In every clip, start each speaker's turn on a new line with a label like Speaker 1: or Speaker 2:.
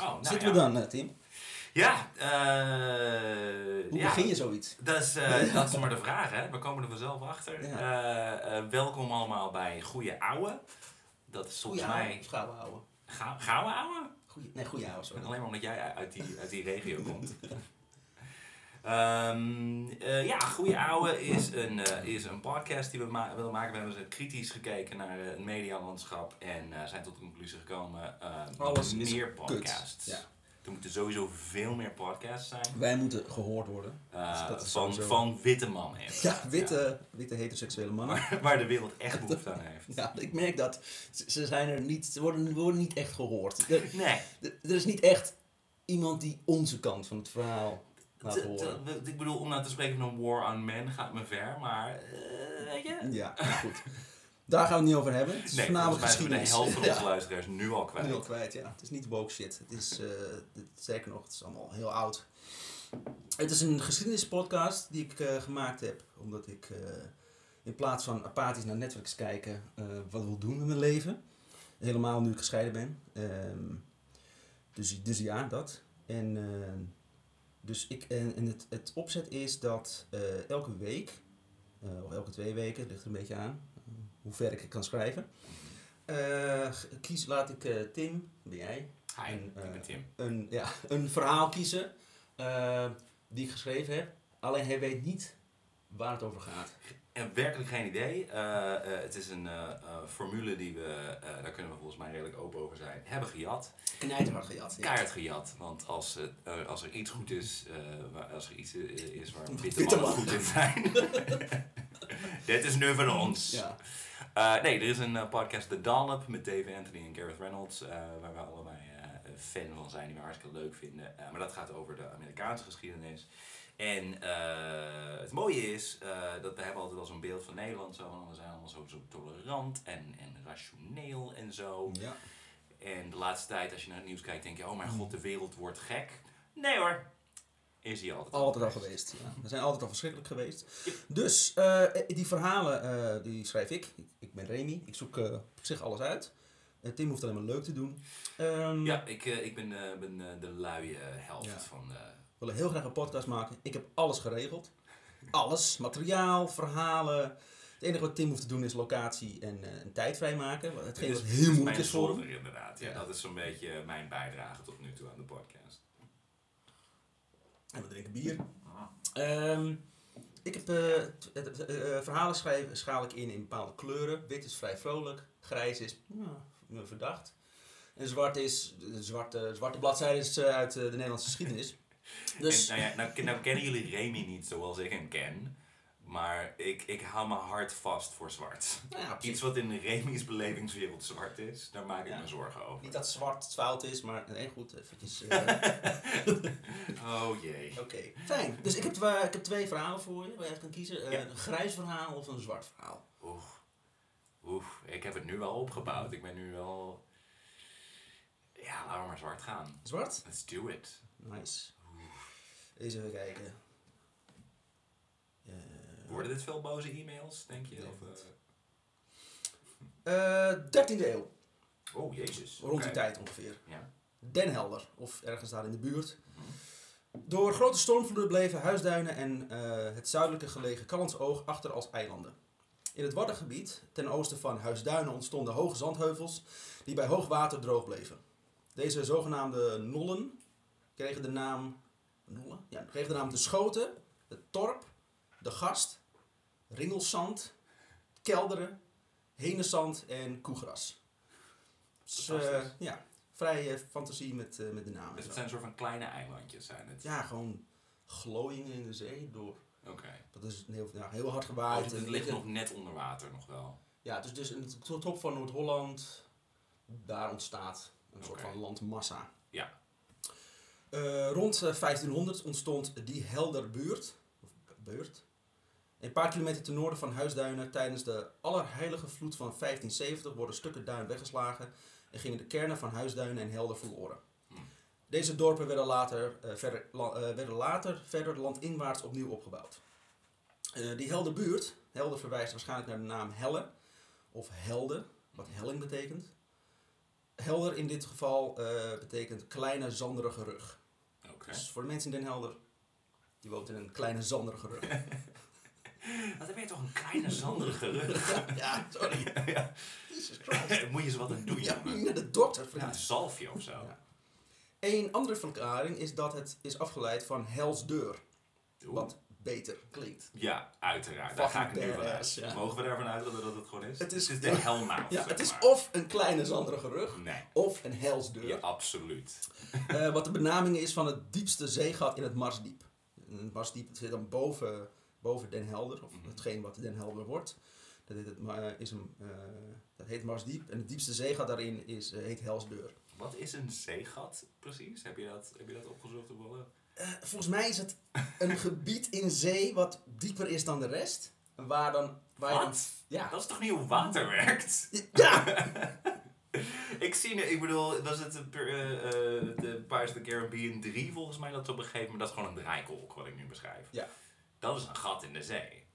Speaker 1: Oh, nou
Speaker 2: Zitten we
Speaker 1: ja.
Speaker 2: dan, eh, Tim?
Speaker 1: Ja, eh,
Speaker 2: Hoe
Speaker 1: ja.
Speaker 2: begin je zoiets?
Speaker 1: Dat is, eh, dat is maar de vraag, hè? We komen er vanzelf achter.
Speaker 2: Ja.
Speaker 1: Eh, eh, welkom allemaal bij Goeie Ouwe. Dat is volgens
Speaker 2: Goeie
Speaker 1: mij.
Speaker 2: ouwe. Gouden ouwe.
Speaker 1: Ga- Gaan we ouwe?
Speaker 2: Goeie- Nee, goeie ouwe, sorry.
Speaker 1: Alleen maar omdat jij uit die, uit die regio komt. Ehm, eh, ja, Goeie Ouwe is een, eh, is een podcast die we ma- willen maken. We hebben dus kritisch gekeken naar eh, het medialandschap en eh, zijn tot de conclusie gekomen: eh,
Speaker 2: Alles is
Speaker 1: meer
Speaker 2: kut.
Speaker 1: podcasts.
Speaker 2: Ja.
Speaker 1: Er moeten sowieso veel meer podcasts zijn.
Speaker 2: Wij moeten gehoord worden.
Speaker 1: eh,
Speaker 2: Dus dat is
Speaker 1: van,
Speaker 2: sowieso-
Speaker 1: van witte mannen.
Speaker 2: Ja, witte, witte heteroseksuele mannen.
Speaker 1: waar, waar de wereld echt behoefte aan heeft.
Speaker 2: Ja, ik merk dat. Ze, ze zijn er niet, ze worden, worden niet echt gehoord. Er,
Speaker 1: Nee,
Speaker 2: er- er is niet echt iemand die onze kant van het verhaal laat
Speaker 1: t- t-
Speaker 2: horen.
Speaker 1: we- ik bedoel, om nou te spreken van een war on men gaat me ver, maar eh, weet je.
Speaker 2: Ja, goed. Daar gaan we het niet over hebben. Het is
Speaker 1: Nee, volgens
Speaker 2: voornamelijk
Speaker 1: mij zijn we de helft
Speaker 2: geschiedenis.
Speaker 1: van onze
Speaker 2: Ja.
Speaker 1: luisteraars nu al kwijt.
Speaker 2: Nu al kwijt, ja. Het is niet woke shit. Het is, eh, dit- zeker nog, het is allemaal heel oud. Het is een geschiedenispodcast die ik eh, gemaakt heb, omdat ik eh, in plaats van apathisch naar Netflix kijken, eh, wat wil doen met mijn leven. Helemaal nu ik gescheiden ben. Ehm, dus, dus ja, dat. En, ehm, dus ik, en, en het, het opzet is dat eh, elke week, eh, of elke twee weken, het ligt er een beetje aan eh, hoe ver ik het kan schrijven. Eh, g- kies, laat ik eh, Tim, ben jij,
Speaker 1: Hi,
Speaker 2: En, eh,
Speaker 1: ik ben Tim.
Speaker 2: een, ja, een verhaal kiezen eh, die ik geschreven heb. Alleen hij weet niet waar het over gaat.
Speaker 1: En werkelijk geen idee. Eh, eh, het is een eh, eh, formule die we, eh, daar kunnen we volgens mij redelijk open over zijn, hebben gejat.
Speaker 2: Knijterhard gejat. Ja.
Speaker 1: Kaart gejat, want als, het, eh, als er iets goed is, eh, waar, als er iets eh, is waar witte
Speaker 2: Witte
Speaker 1: mannen
Speaker 2: mannen.
Speaker 1: goed in zijn. Dit is nu van ons.
Speaker 2: Ja.
Speaker 1: Eh, nee, er is een eh, podcast, The Dollop, met Dave Anthony en Gareth Reynolds, eh, waar we allebei eh, fan van zijn, die we hartstikke leuk vinden. Eh, maar dat gaat over de Amerikaanse geschiedenis. En eh, het mooie is eh, dat we hebben altijd wel zo'n beeld van Nederland, zo, van, we zijn allemaal zo, zo tolerant en, en rationeel en zo.
Speaker 2: Ja.
Speaker 1: En de laatste tijd, als je naar het nieuws kijkt, denk je, oh mijn god, de wereld wordt gek. Nee hoor, is hij altijd.
Speaker 2: Altijd al geweest. Ja. We zijn altijd al verschrikkelijk geweest. Dus eh, die verhalen eh, die schrijf ik. Ik- Ik ben Remy. Ik zoek eh, op zich alles uit. Eh, Tim hoeft alleen maar leuk te doen. Ehm,
Speaker 1: Ja, ik, eh, ik ben, eh, ben eh, de luie helft
Speaker 2: Ja.
Speaker 1: van... eh,
Speaker 2: We willen heel graag een podcast maken. Ik heb alles geregeld. Alles. Materiaal, verhalen. Het enige wat Tim hoeft te doen is locatie en eh, een tijd vrijmaken. Wat- Hetgeen
Speaker 1: Dit
Speaker 2: wat
Speaker 1: is- dit
Speaker 2: heel moeilijk
Speaker 1: mijn
Speaker 2: is voor hem.
Speaker 1: zolder, inderdaad. Ja,
Speaker 2: Ja.
Speaker 1: Dat is zo'n beetje eh, mijn bijdrage tot nu toe aan de podcast.
Speaker 2: En we drinken bier. Ehm, ik heb eh, t- eh, eh, eh, verhalen schrijven, schaal ik in in bepaalde kleuren. Wit is vrij vrolijk. Grijs is ja, verdacht. En zwart is, de zwarte, zwarte bladzijde is eh, uit eh, de Nederlandse geschiedenis. Dus,
Speaker 1: En, nou, ja, nou, ken- nou kennen jullie Remy niet zoals ik hem ken. Maar ik, ik hou mijn hart vast voor zwart.
Speaker 2: nou ja, op zich
Speaker 1: Iets wat in Remy's belevingswereld zwart is, daar maak ik
Speaker 2: Ja.
Speaker 1: me zorgen over.
Speaker 2: Niet dat zwart het fout is, maar nee, goed, eventjes... eh,
Speaker 1: Oh jee.
Speaker 2: Oké, fijn. Dus ik heb, twa- ik heb twee verhalen voor je waar je uit kan kiezen. Eh,
Speaker 1: Ja.
Speaker 2: Een grijs verhaal of een zwart verhaal.
Speaker 1: Oeh. Oeh, ik heb het nu wel opgebouwd. Ik ben nu wel... Ja, laten we maar zwart gaan.
Speaker 2: Zwart?
Speaker 1: Let's do it.
Speaker 2: Nice. Eens even kijken. Eh,
Speaker 1: Worden dit veel boze e-mails, denk je?
Speaker 2: Nee,
Speaker 1: Of, eh,
Speaker 2: eh, 13e eeuw,
Speaker 1: Oh, jezus.
Speaker 2: Dus rond die
Speaker 1: Oké.
Speaker 2: tijd ongeveer.
Speaker 1: Ja.
Speaker 2: Den Helder, of ergens daar in de buurt.
Speaker 1: Mhm.
Speaker 2: Door grote stormvloeden bleven huisduinen en eh, het zuidelijke gelegen Callantsoog achter als eilanden. In het Waddengebied, ten oosten van Huisduinen, ontstonden hoge zandheuvels die bij hoog water droog bleven. Deze zogenaamde nollen kregen de naam, nollen? Ja, kregen de, naam de Schoten, de Torp, de Gast, Ringelzand, Kelderen, Henezand en Koegras. Dus, eh,
Speaker 1: Fantastisch.
Speaker 2: ja, vrij eh, fantasie met, eh, met de namen. en
Speaker 1: Dus
Speaker 2: zo.
Speaker 1: het zijn een soort van kleine eilandjes zijn het.
Speaker 2: Ja, gewoon glooiingen in de zee door.
Speaker 1: Oké.
Speaker 2: Dat is heel, ja, heel hard
Speaker 1: Oh,
Speaker 2: gewaaid.
Speaker 1: dus het
Speaker 2: En-
Speaker 1: ligt nog net onder water nog wel.
Speaker 2: Ja, dus, dus in het to- top van Noord-Holland, daar ontstaat een soort
Speaker 1: Oké.
Speaker 2: van landmassa.
Speaker 1: Ja.
Speaker 2: Eh, rond eh, 1500 ontstond die Helderbuurt, of Beurt, een paar kilometer ten noorden van Huisduinen. Tijdens de Allerheilige Vloed van 1570 worden stukken duin weggeslagen en gingen de kernen van Huisduinen en Helder verloren.
Speaker 1: Hm.
Speaker 2: Deze dorpen werden later, eh, verder, la- eh, werden later verder landinwaarts opnieuw opgebouwd. Eh, die Helderbuurt, Helder verwijst waarschijnlijk naar de naam Helle, of helden, wat helling betekent. Eh, Helder in dit geval eh, betekent kleine zanderige rug.
Speaker 1: Oké.
Speaker 2: Dus voor de mensen in Den Helder, die woont in een kleine zanderige rug.
Speaker 1: Maar Dan ben je toch een kleine zanderige rug.
Speaker 2: ja, sorry.
Speaker 1: ja.
Speaker 2: Jesus Christ.
Speaker 1: Moet je eens wat aan doen,
Speaker 2: Ja,
Speaker 1: jongen.
Speaker 2: naar de dokter,
Speaker 1: Ja, een
Speaker 2: vriend.
Speaker 1: zalfje of zo.
Speaker 2: Ja. Een andere verklaring is dat het is afgeleid van Hels Deur,
Speaker 1: Oeh.
Speaker 2: wat beter klinkt.
Speaker 1: Ja, uiteraard. Daar ga ik
Speaker 2: Fucking
Speaker 1: nu van uit.
Speaker 2: badass, ja.
Speaker 1: Mogen we daarvan uitgaan dat het gewoon is?
Speaker 2: Het is-
Speaker 1: de helmaat.
Speaker 2: Ja,
Speaker 1: zeg
Speaker 2: het is
Speaker 1: maar.
Speaker 2: of een kleine zanderige rug,
Speaker 1: Nee.
Speaker 2: of een Hels Deur.
Speaker 1: Ja, absoluut.
Speaker 2: Eh, wat de benaming is van het diepste zeegat in het Marsdiep. En Het Marsdiep zit dan boven, boven Den Helder, of
Speaker 1: Mhm.
Speaker 2: hetgeen wat Den Helder wordt. Dat heet, het, ma- is een, eh, dat heet Marsdiep en het diepste zeegat daarin is, eh, heet Helsdeur.
Speaker 1: Wat is een zeegat precies? Heb je dat, heb je dat opgezocht op Wolle?
Speaker 2: Eh, volgens mij is het een gebied in zee wat dieper is dan de rest. Waar dan... Waar je dan-
Speaker 1: Wat?
Speaker 2: ja.
Speaker 1: Dat is toch niet hoe water werkt?
Speaker 2: Ja!
Speaker 1: Ik zie nu, ik bedoel, was het eh, eh, eh, de Pirates of the Caribbean 3 volgens mij dat ze op een gegeven moment, dat is gewoon een draaikolk wat ik nu beschrijf.
Speaker 2: Ja.
Speaker 1: Dat is een gat in de zee.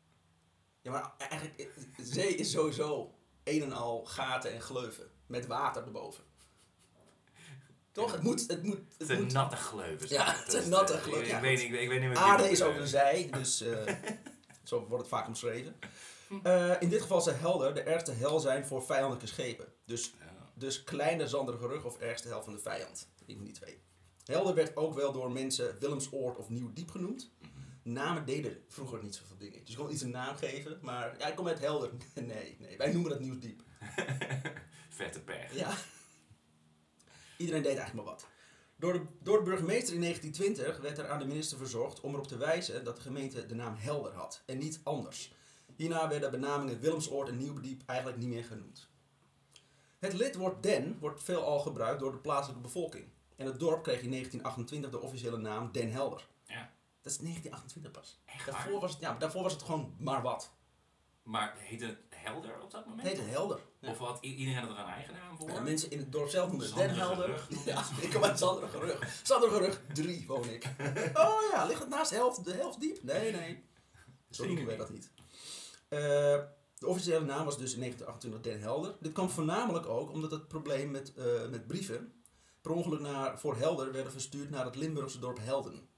Speaker 2: Ja, maar eigenlijk, eh, zee is sowieso een en al gaten en gleuven. Met water erboven. Toch? Het moet... Het moet,
Speaker 1: Het
Speaker 2: het
Speaker 1: zijn
Speaker 2: moet
Speaker 1: natte gleuven.
Speaker 2: Ja,
Speaker 1: Dat
Speaker 2: het
Speaker 1: is
Speaker 2: zijn
Speaker 1: de-
Speaker 2: natte gleuven,
Speaker 1: Ik,
Speaker 2: ja,
Speaker 1: ik, weet niet- ik, ik weet niet meer
Speaker 2: Aarde
Speaker 1: wie-
Speaker 2: is ook een zij, dus eh, zo wordt het vaak omschreven. Eh, in dit geval zou helder de ergste hel zijn voor vijandelijke schepen. Dus,
Speaker 1: Ja.
Speaker 2: dus kleine zanderige rug of ergste hel van de vijand. Ik van die twee. Helder werd ook wel door mensen Willemsoord of Nieuw Diep genoemd. Namen deden vroeger niet zoveel dingen. Dus je kon iets een naam geven, maar ja, ik kom uit Helder. Nee, nee, wij noemen dat Nieuw Diep.
Speaker 1: Vette pech.
Speaker 2: Ja. Iedereen deed eigenlijk maar wat. Door de, door de burgemeester in 1920 werd er aan de minister verzorgd om erop te wijzen dat de gemeente de naam Helder had en niet anders. Hierna werden benamingen Willemsoord en Nieuwbediep eigenlijk niet meer genoemd. Het lidwoord Den wordt veelal gebruikt door de plaatselijke bevolking. En het dorp kreeg in 1928 de officiële naam Den Helder.
Speaker 1: Ja.
Speaker 2: Dat is 1928 pas.
Speaker 1: Echt waar?
Speaker 2: Daarvoor was, het, ja, maar daarvoor was het gewoon maar wat.
Speaker 1: Maar heette het helder op dat moment?
Speaker 2: Het heette Helder. Ja.
Speaker 1: Of had i- iedereen er een eigen naam voor?
Speaker 2: Ja, mensen in het dorp zelf noemen het Den
Speaker 1: Zanderige
Speaker 2: Helder.
Speaker 1: rug noemen
Speaker 2: Ja,
Speaker 1: ze.
Speaker 2: ik kom uit Zanderige Rug. Zanderige Rug 3 woon ik. Oh ja, ligt het naast de helft, de helft diep? Nee, nee. Zo
Speaker 1: Zeker
Speaker 2: noemen wij dat niet. Eh, de officiële naam was dus in 1928 Den Helder. Dit kwam voornamelijk ook omdat het probleem met, eh, met brieven per ongeluk naar, voor Helder werden verstuurd naar het Limburgse dorp Helden.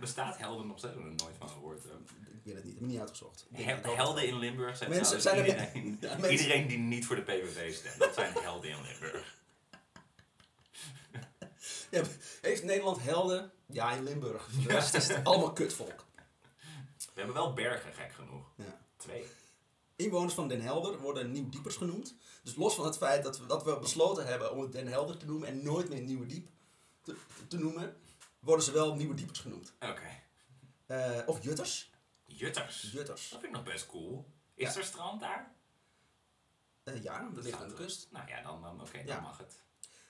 Speaker 1: Bestaat helden nog steeds? Ik heb er nooit van gehoord. hè.
Speaker 2: Ik weet het niet, ik heb het niet uitgezocht. Ik denk
Speaker 1: Hel-
Speaker 2: dat ik-
Speaker 1: helden in Limburg zijn,
Speaker 2: Mensen
Speaker 1: trouwens
Speaker 2: zijn er-
Speaker 1: iedereen,
Speaker 2: Ja, mensen-
Speaker 1: iedereen die niet voor de PVV stemt. Dat zijn helden in Limburg.
Speaker 2: Ja, heeft Nederland helden? Ja, in Limburg. Voor De rest is het allemaal kutvolk.
Speaker 1: We hebben wel bergen, gek genoeg.
Speaker 2: Ja.
Speaker 1: Twee.
Speaker 2: Inwoners van Den Helder worden Nieuw Diepers genoemd. Dus los van het feit dat we, dat we besloten hebben om het Den Helder te noemen en nooit meer Nieuwe Diep te, te noemen, worden ze wel Nieuwe Diepers genoemd.
Speaker 1: Oké.
Speaker 2: Eh, of Jutters.
Speaker 1: Jutters.
Speaker 2: Jutters.
Speaker 1: Dat vind ik nog best cool. Is
Speaker 2: Ja.
Speaker 1: er strand daar?
Speaker 2: Eh, ja, dat ligt aan de
Speaker 1: Staat er.
Speaker 2: kust.
Speaker 1: Nou ja, dan, dan, oké,
Speaker 2: Ja.
Speaker 1: dan mag het. Nou,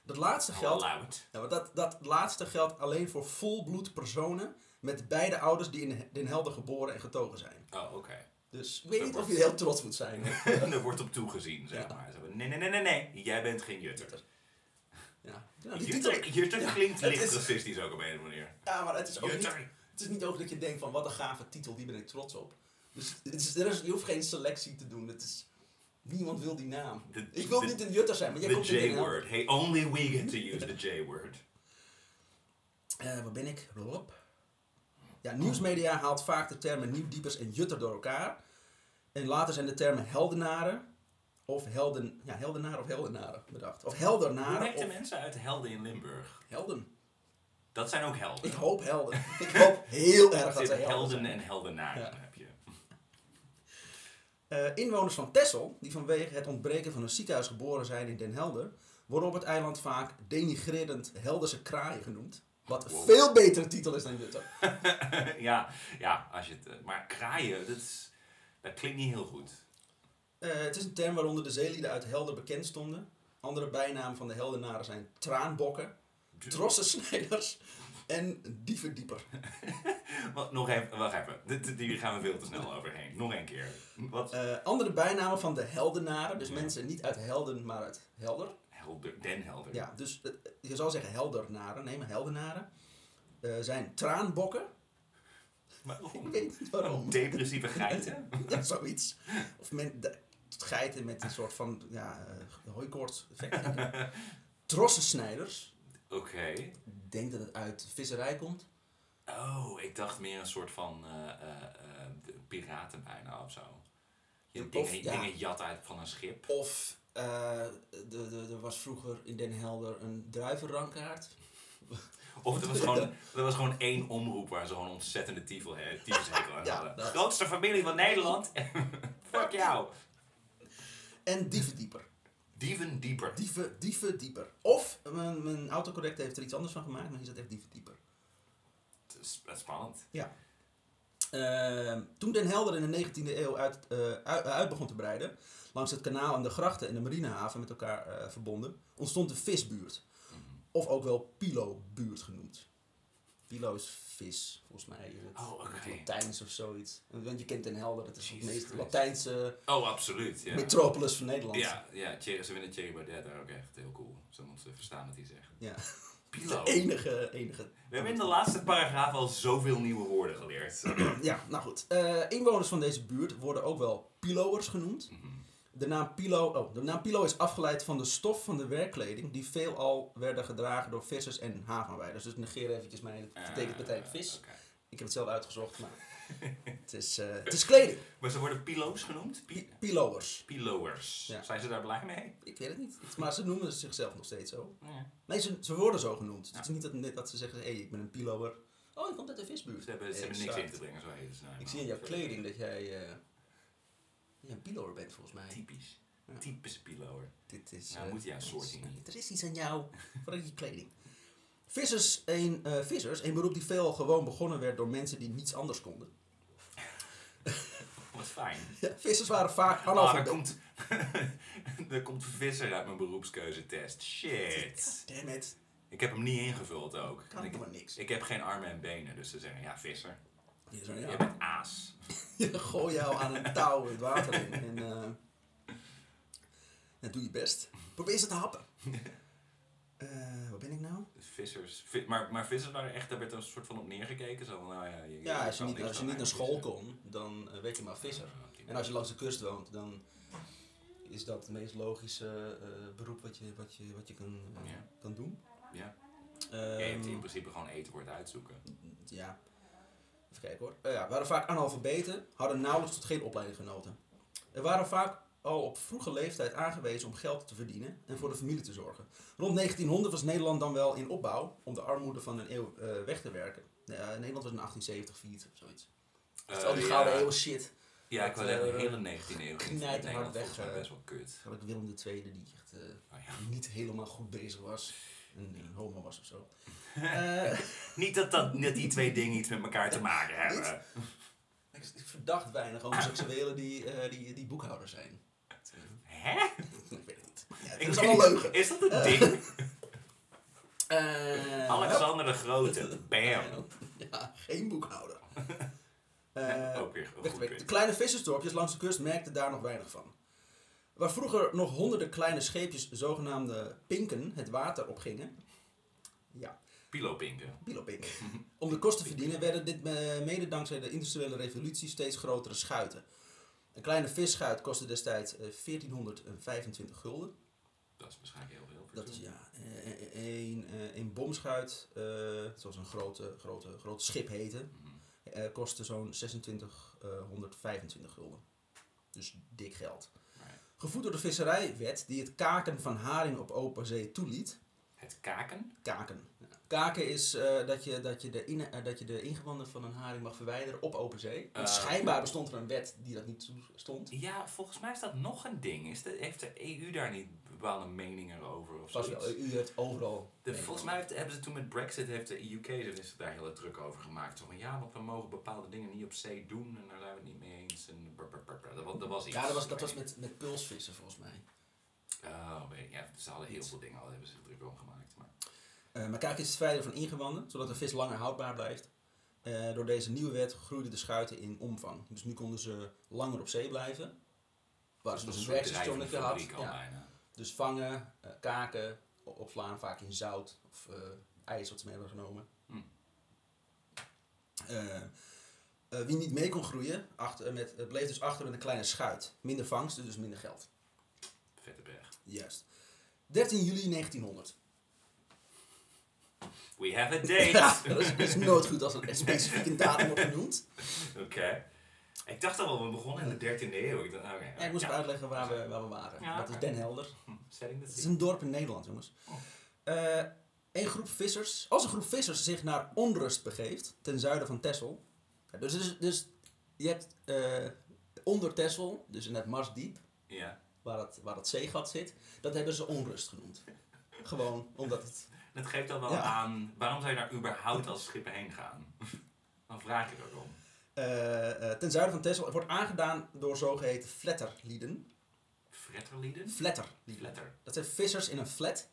Speaker 2: Dat laatste
Speaker 1: Geld.
Speaker 2: geldt, ja, maar dat, dat laatste geldt alleen voor volbloed personen met beide ouders die in Den Helder geboren en getogen zijn.
Speaker 1: Oh, oké.
Speaker 2: Dus ik weet niet of je heel trots moet zijn. op, eh,
Speaker 1: er wordt op toegezien, zeg
Speaker 2: Ja.
Speaker 1: maar. Ze hebben, nee, nee, nee, nee, nee. Jij bent geen Jutter.
Speaker 2: Jutter. Ja, nou, die
Speaker 1: Jutter,
Speaker 2: titel-
Speaker 1: Jutter
Speaker 2: Ja,
Speaker 1: klinkt
Speaker 2: het
Speaker 1: licht
Speaker 2: is-
Speaker 1: racistisch ook op een of andere manier.
Speaker 2: Ja, maar het is ook niet
Speaker 1: Jutter.
Speaker 2: Het is niet ook dat je denkt van wat een gave titel, die ben ik trots op. Dus het is, er is, je hoeft geen selectie te doen. Het is, niemand wil die naam.
Speaker 1: De-
Speaker 2: ik wil
Speaker 1: de-
Speaker 2: niet een jutter zijn, maar jij
Speaker 1: The
Speaker 2: komt in Den Helder.
Speaker 1: J-word. Hey, only we get to use the J-word.
Speaker 2: Eh, waar ben ik? Rob. Ja, nieuwsmedia haalt vaak de termen nieuwdiepers en jutter door elkaar. En later zijn de termen heldenaren of helden, ja, heldenaren of heldenaren bedacht. Of
Speaker 1: Hoe
Speaker 2: heldernaren
Speaker 1: heet de
Speaker 2: of
Speaker 1: mensen uit Helden in Limburg?
Speaker 2: helden.
Speaker 1: Dat zijn ook helden.
Speaker 2: Ik hoop helden. ik hoop heel erg
Speaker 1: Er
Speaker 2: dat ze
Speaker 1: zitten
Speaker 2: helden zijn.
Speaker 1: helden en heldenaren
Speaker 2: Ja.
Speaker 1: heb je.
Speaker 2: Eh, inwoners van Texel, die vanwege het ontbreken van een ziekenhuis geboren zijn in Den Helder, worden op het eiland vaak denigrerend Helderse kraaien genoemd. Wat een
Speaker 1: Wow.
Speaker 2: veel betere titel is dan Jutter.
Speaker 1: ja, ja, als je het... eh, Maar kraaien, dat, is, dat klinkt niet heel goed.
Speaker 2: Eh, het is een term waaronder de zeelieden uit Helder bekend stonden. Andere bijnamen van de Heldenaren zijn traanbokken, trossensnijders en dievedieper.
Speaker 1: Wat, nog even, wacht even. Dit, dit- hier gaan we veel te snel overheen. Nog een keer. Wat?
Speaker 2: Eh, andere bijnamen van de Heldenaren, dus
Speaker 1: Ja.
Speaker 2: mensen niet uit Helden, maar uit Helder.
Speaker 1: Helder, Den Helder.
Speaker 2: Ja, dus eh, je zou zeggen heldernaren, nee maar heldenaren, eh, zijn traanbokken.
Speaker 1: Waarom?
Speaker 2: Ik weet niet waarom.
Speaker 1: Depressieve geiten?
Speaker 2: Ja, zoiets. Of men, de- geiten met een soort van ja, eh, hooikoorts effect. Trossensnijders.
Speaker 1: Oké.
Speaker 2: Ik denk dat het uit visserij komt.
Speaker 1: Oh, ik dacht meer een soort van eh, eh, eh, piraten bijna of zo. Je
Speaker 2: Of,
Speaker 1: dingen,
Speaker 2: ja.
Speaker 1: dingen jat uit van een schip.
Speaker 2: Of eh, de- de- er was vroeger in Den Helder een druivenrankaart.
Speaker 1: Of er was gewoon, er was gewoon één omroep waar ze gewoon ontzettende tyfel hè, tyfushekel aan
Speaker 2: Ja,
Speaker 1: hadden.
Speaker 2: dat-
Speaker 1: Grootste familie van Nederland. Fuck jou.
Speaker 2: En dievendieper.
Speaker 1: Dieven dieper.
Speaker 2: Dieven, dievendieper. Of, mijn, mijn autocorrect heeft er iets anders van gemaakt, maar hier zat echt dievendieper.
Speaker 1: Het is- het is Spannend.
Speaker 2: Ehm, toen Den Helder in de 19e eeuw uit, eh, uit, uit begon te breiden, langs het kanaal en de grachten en de marinehaven met elkaar eh, verbonden, ontstond de visbuurt.
Speaker 1: Mhm.
Speaker 2: Of ook wel pilobuurt genoemd. Pilo is vis, volgens mij. Is het,
Speaker 1: Oh, oké.
Speaker 2: in het Latijns of zoiets. Want je kent Den Helder, dat is het
Speaker 1: Jesus
Speaker 2: meest
Speaker 1: Christ.
Speaker 2: Latijnse
Speaker 1: Oh, absoluut. Ja,
Speaker 2: metropolis van Nederland.
Speaker 1: ja, ja Thierry- ze vinden Thierry Baudet daar ook echt heel cool. Zodat ze verstaan wat hij zegt.
Speaker 2: Ja.
Speaker 1: Pilo.
Speaker 2: Enige, enige
Speaker 1: We hebben in de laatste paragraaf al zoveel nieuwe woorden geleerd.
Speaker 2: Ja, nou goed. Eh, inwoners van deze buurt worden ook wel piloers genoemd.
Speaker 1: Mhm.
Speaker 2: De naam, pilo, oh, de naam pilo is afgeleid van de stof van de werkkleding die veelal werden gedragen door vissers en havenarbeiders. Dus negeer eventjes mijn hele betekent partij vis.
Speaker 1: Eh, oké.
Speaker 2: Ik heb het zelf uitgezocht, maar het is, eh, het is kleding.
Speaker 1: Maar ze worden pilo's genoemd? Pi-
Speaker 2: Pi- Piloers.
Speaker 1: Piloers.
Speaker 2: Ja.
Speaker 1: Zijn ze daar blij mee?
Speaker 2: Ik weet het niet. Maar ze noemen zichzelf nog steeds zo.
Speaker 1: Ja.
Speaker 2: Nee, ze, ze worden zo genoemd. Het is niet dat, dat ze zeggen, hé, hey, ik ben een piloer. Oh, ik kom uit de visbuurt.
Speaker 1: Ze hebben, ze hebben niks
Speaker 2: Exact.
Speaker 1: in te brengen, zo heet het. nou
Speaker 2: Ik
Speaker 1: eenmaal.
Speaker 2: zie in jouw kleding dat jij eh, ja, een piloer bent, volgens mij.
Speaker 1: Typisch.
Speaker 2: Ja.
Speaker 1: Typische piloer.
Speaker 2: Dit is.
Speaker 1: Nou,
Speaker 2: eh,
Speaker 1: moet jouw soort zien.
Speaker 2: eh, Er is iets aan jou. Vooral je kleding. Vissers, een, eh, vissers, een beroep die veel gewoon begonnen werd door mensen die niets anders konden.
Speaker 1: Wat fijn.
Speaker 2: Ja, vissers waren vaak
Speaker 1: Ah, er
Speaker 2: analfabeet.
Speaker 1: komt, er komt visser uit mijn beroepskeuzetest. Shit.
Speaker 2: Damn it,
Speaker 1: Ik heb hem niet ingevuld ook.
Speaker 2: kan
Speaker 1: ik,
Speaker 2: ik maar niks.
Speaker 1: ik heb geen armen en benen, dus ze zeggen ja, visser.
Speaker 2: Ja, zo,
Speaker 1: Je
Speaker 2: ja.
Speaker 1: bent aas.
Speaker 2: Je gooi jou aan een touw het water in en, eh, en doe je best. Probeer ze te happen. Eh wat ben ik nou?
Speaker 1: Dus vissers. vi- maar, maar vissers waren echt, daar werd een soort van op neergekeken. Zo van, nou ja, je,
Speaker 2: Ja, als je
Speaker 1: kan
Speaker 2: niet,
Speaker 1: niks
Speaker 2: als je
Speaker 1: aan mij
Speaker 2: niet naar school
Speaker 1: vissen.
Speaker 2: kon, dan eh, werd je maar visser.
Speaker 1: Ja, op die
Speaker 2: En als je langs de kust woont, dan is dat het meest logische eh, beroep wat je, wat je, wat je kan, eh,
Speaker 1: Ja.
Speaker 2: kan doen.
Speaker 1: Ja.
Speaker 2: Ehm,
Speaker 1: manier. Je hebt in principe gewoon eten wordt uitzoeken.
Speaker 2: ja. Even kijken hoor. Eh, ja, waren vaak analfabeten, hadden nauwelijks tot geen opleiding genoten. Er waren vaak al op vroege leeftijd aangewezen om geld te verdienen en voor de familie te zorgen. Rond 1900 was Nederland dan wel in opbouw om de armoede van een eeuw eh, weg te werken. Eh, Nederland was in 1870 failliet of zoiets. Dat is al die
Speaker 1: Eh,
Speaker 2: gouden
Speaker 1: ja.
Speaker 2: eeuw shit.
Speaker 1: Ja, ik wil
Speaker 2: Dat,
Speaker 1: zeggen, de
Speaker 2: eh,
Speaker 1: hele 19e eeuw ging
Speaker 2: knijterhard
Speaker 1: het Nederland
Speaker 2: weg,
Speaker 1: volgens mij
Speaker 2: eh,
Speaker 1: best wel kut.
Speaker 2: Had ik Willem II die echt eh,
Speaker 1: Oh ja.
Speaker 2: niet helemaal goed bezig was. Een, een homo was of zo. Eh,
Speaker 1: Niet dat, dat, dat die twee dingen iets met elkaar te maken hebben.
Speaker 2: ik ik verdacht weinig homoseksuelen die, eh, die, die boekhouder zijn.
Speaker 1: Hè?
Speaker 2: ik weet het niet. Ja,
Speaker 1: Ik
Speaker 2: het
Speaker 1: weet
Speaker 2: is allemaal
Speaker 1: niet,
Speaker 2: leugen.
Speaker 1: Is dat een ding?
Speaker 2: Eh,
Speaker 1: Alexander de Grote. Bam.
Speaker 2: hup. Ja, geen boekhouder. Eh,
Speaker 1: Ook weer een
Speaker 2: weg,
Speaker 1: goed
Speaker 2: weg.
Speaker 1: punt.
Speaker 2: De kleine vissersdorpjes langs de kust merkten daar nog weinig van. Waar vroeger nog honderden kleine scheepjes, zogenaamde pinken, het water opgingen. Ja,
Speaker 1: Pilopinken.
Speaker 2: Bilopink. Om de kosten te verdienen werden dit eh, mede dankzij de industriële revolutie steeds grotere schuiten. Een kleine visschuit kostte destijds eh, 1425 gulden.
Speaker 1: Dat is waarschijnlijk heel veel.
Speaker 2: Dat is ja, eh, eh, een, eh, een bomschuit, eh, zoals een grote, grote, groot schip heette,
Speaker 1: Mhm.
Speaker 2: eh, kostte zo'n 2625 gulden. Dus dik geld.
Speaker 1: Maar
Speaker 2: Gevoed door de visserijwet die het kaken van haring op open zee toeliet,
Speaker 1: Het kaken?
Speaker 2: Kaken. Kaken is eh, dat, je, dat, je de in, eh, dat je de ingewanden van een haring mag verwijderen op open zee. Want
Speaker 1: Eh.
Speaker 2: schijnbaar bestond er een wet die dat niet toestond.
Speaker 1: Ja, volgens mij is dat nog een ding. Is de, heeft de EU daar niet bepaalde meningen over of
Speaker 2: Zoals
Speaker 1: zo?
Speaker 2: wel, eh, u hebt overal.
Speaker 1: De, volgens mij heeft, hebben ze toen met Brexit, heeft de UK er is daar heel druk over gemaakt. Zo van ja, want we mogen bepaalde dingen niet op zee doen en daar zijn we het niet mee eens. En brr, brr, brr, brr. Dat, wa- dat was iets.
Speaker 2: Ja, dat was, dat was met, met pulsvissen volgens mij.
Speaker 1: Oh, weet ik. Ja, ze hadden heel veel dingen al hebben ze er druk om gemaakt. Maar...
Speaker 2: Eh, maar kaken is het verwijderen van ingewanden, zodat de vis langer houdbaar blijft. Eh, door deze nieuwe wet groeiden de schuiten in omvang. Dus nu konden ze langer op zee blijven. Waar ze
Speaker 1: Dat is
Speaker 2: dus een
Speaker 1: soort drijvende
Speaker 2: werkstationnetje had.
Speaker 1: fabriek al
Speaker 2: Ja.
Speaker 1: bijna.
Speaker 2: Dus vangen, eh, kaken, o- opslaan, vaak in zout
Speaker 1: Hmm.
Speaker 2: of eh, ijs wat ze mee hebben genomen.
Speaker 1: Hm.
Speaker 2: Eh, eh, Eh, wie niet mee kon groeien, achter, met, eh, bleef dus achter met een kleine schuit. Minder vangst, dus minder geld.
Speaker 1: Vette berg.
Speaker 2: Juist. 13 juli 1900.
Speaker 1: We have a
Speaker 2: Ja,
Speaker 1: date!
Speaker 2: dat is, dat is nooit goed als een specifieke datum wordt genoemd.
Speaker 1: Oké. Ik dacht al wel, we begonnen in de 13e eeuw. Ik dacht, oké.
Speaker 2: Ja, ik moest
Speaker 1: ja.
Speaker 2: even uitleggen waar we, waar we waren.
Speaker 1: Ja,
Speaker 2: dat is
Speaker 1: oké.
Speaker 2: Den Helder.
Speaker 1: Hm, Setting the
Speaker 2: Het is
Speaker 1: scene.
Speaker 2: een dorp in Nederland, jongens.
Speaker 1: Oh.
Speaker 2: Eh, een groep vissers, als een groep vissers zich naar onrust begeeft, ten zuiden van Texel. Ja, dus, dus, dus je hebt eh, onder Texel, dus in het Marsdiep,
Speaker 1: Ja.
Speaker 2: waar het, waar het zeegat zit, dat hebben ze onrust genoemd. Gewoon omdat het.
Speaker 1: Dat geeft al wel
Speaker 2: Ja.
Speaker 1: aan, waarom zou je daar überhaupt als schip heen gaan? Dan vraag je erom.
Speaker 2: eh, eh, ten zuiden van Texel het wordt aangedaan door zogeheten flatterlieden.
Speaker 1: Fretterlieden?
Speaker 2: Flatterlieden.
Speaker 1: Flatter.
Speaker 2: Dat zijn vissers in een flat.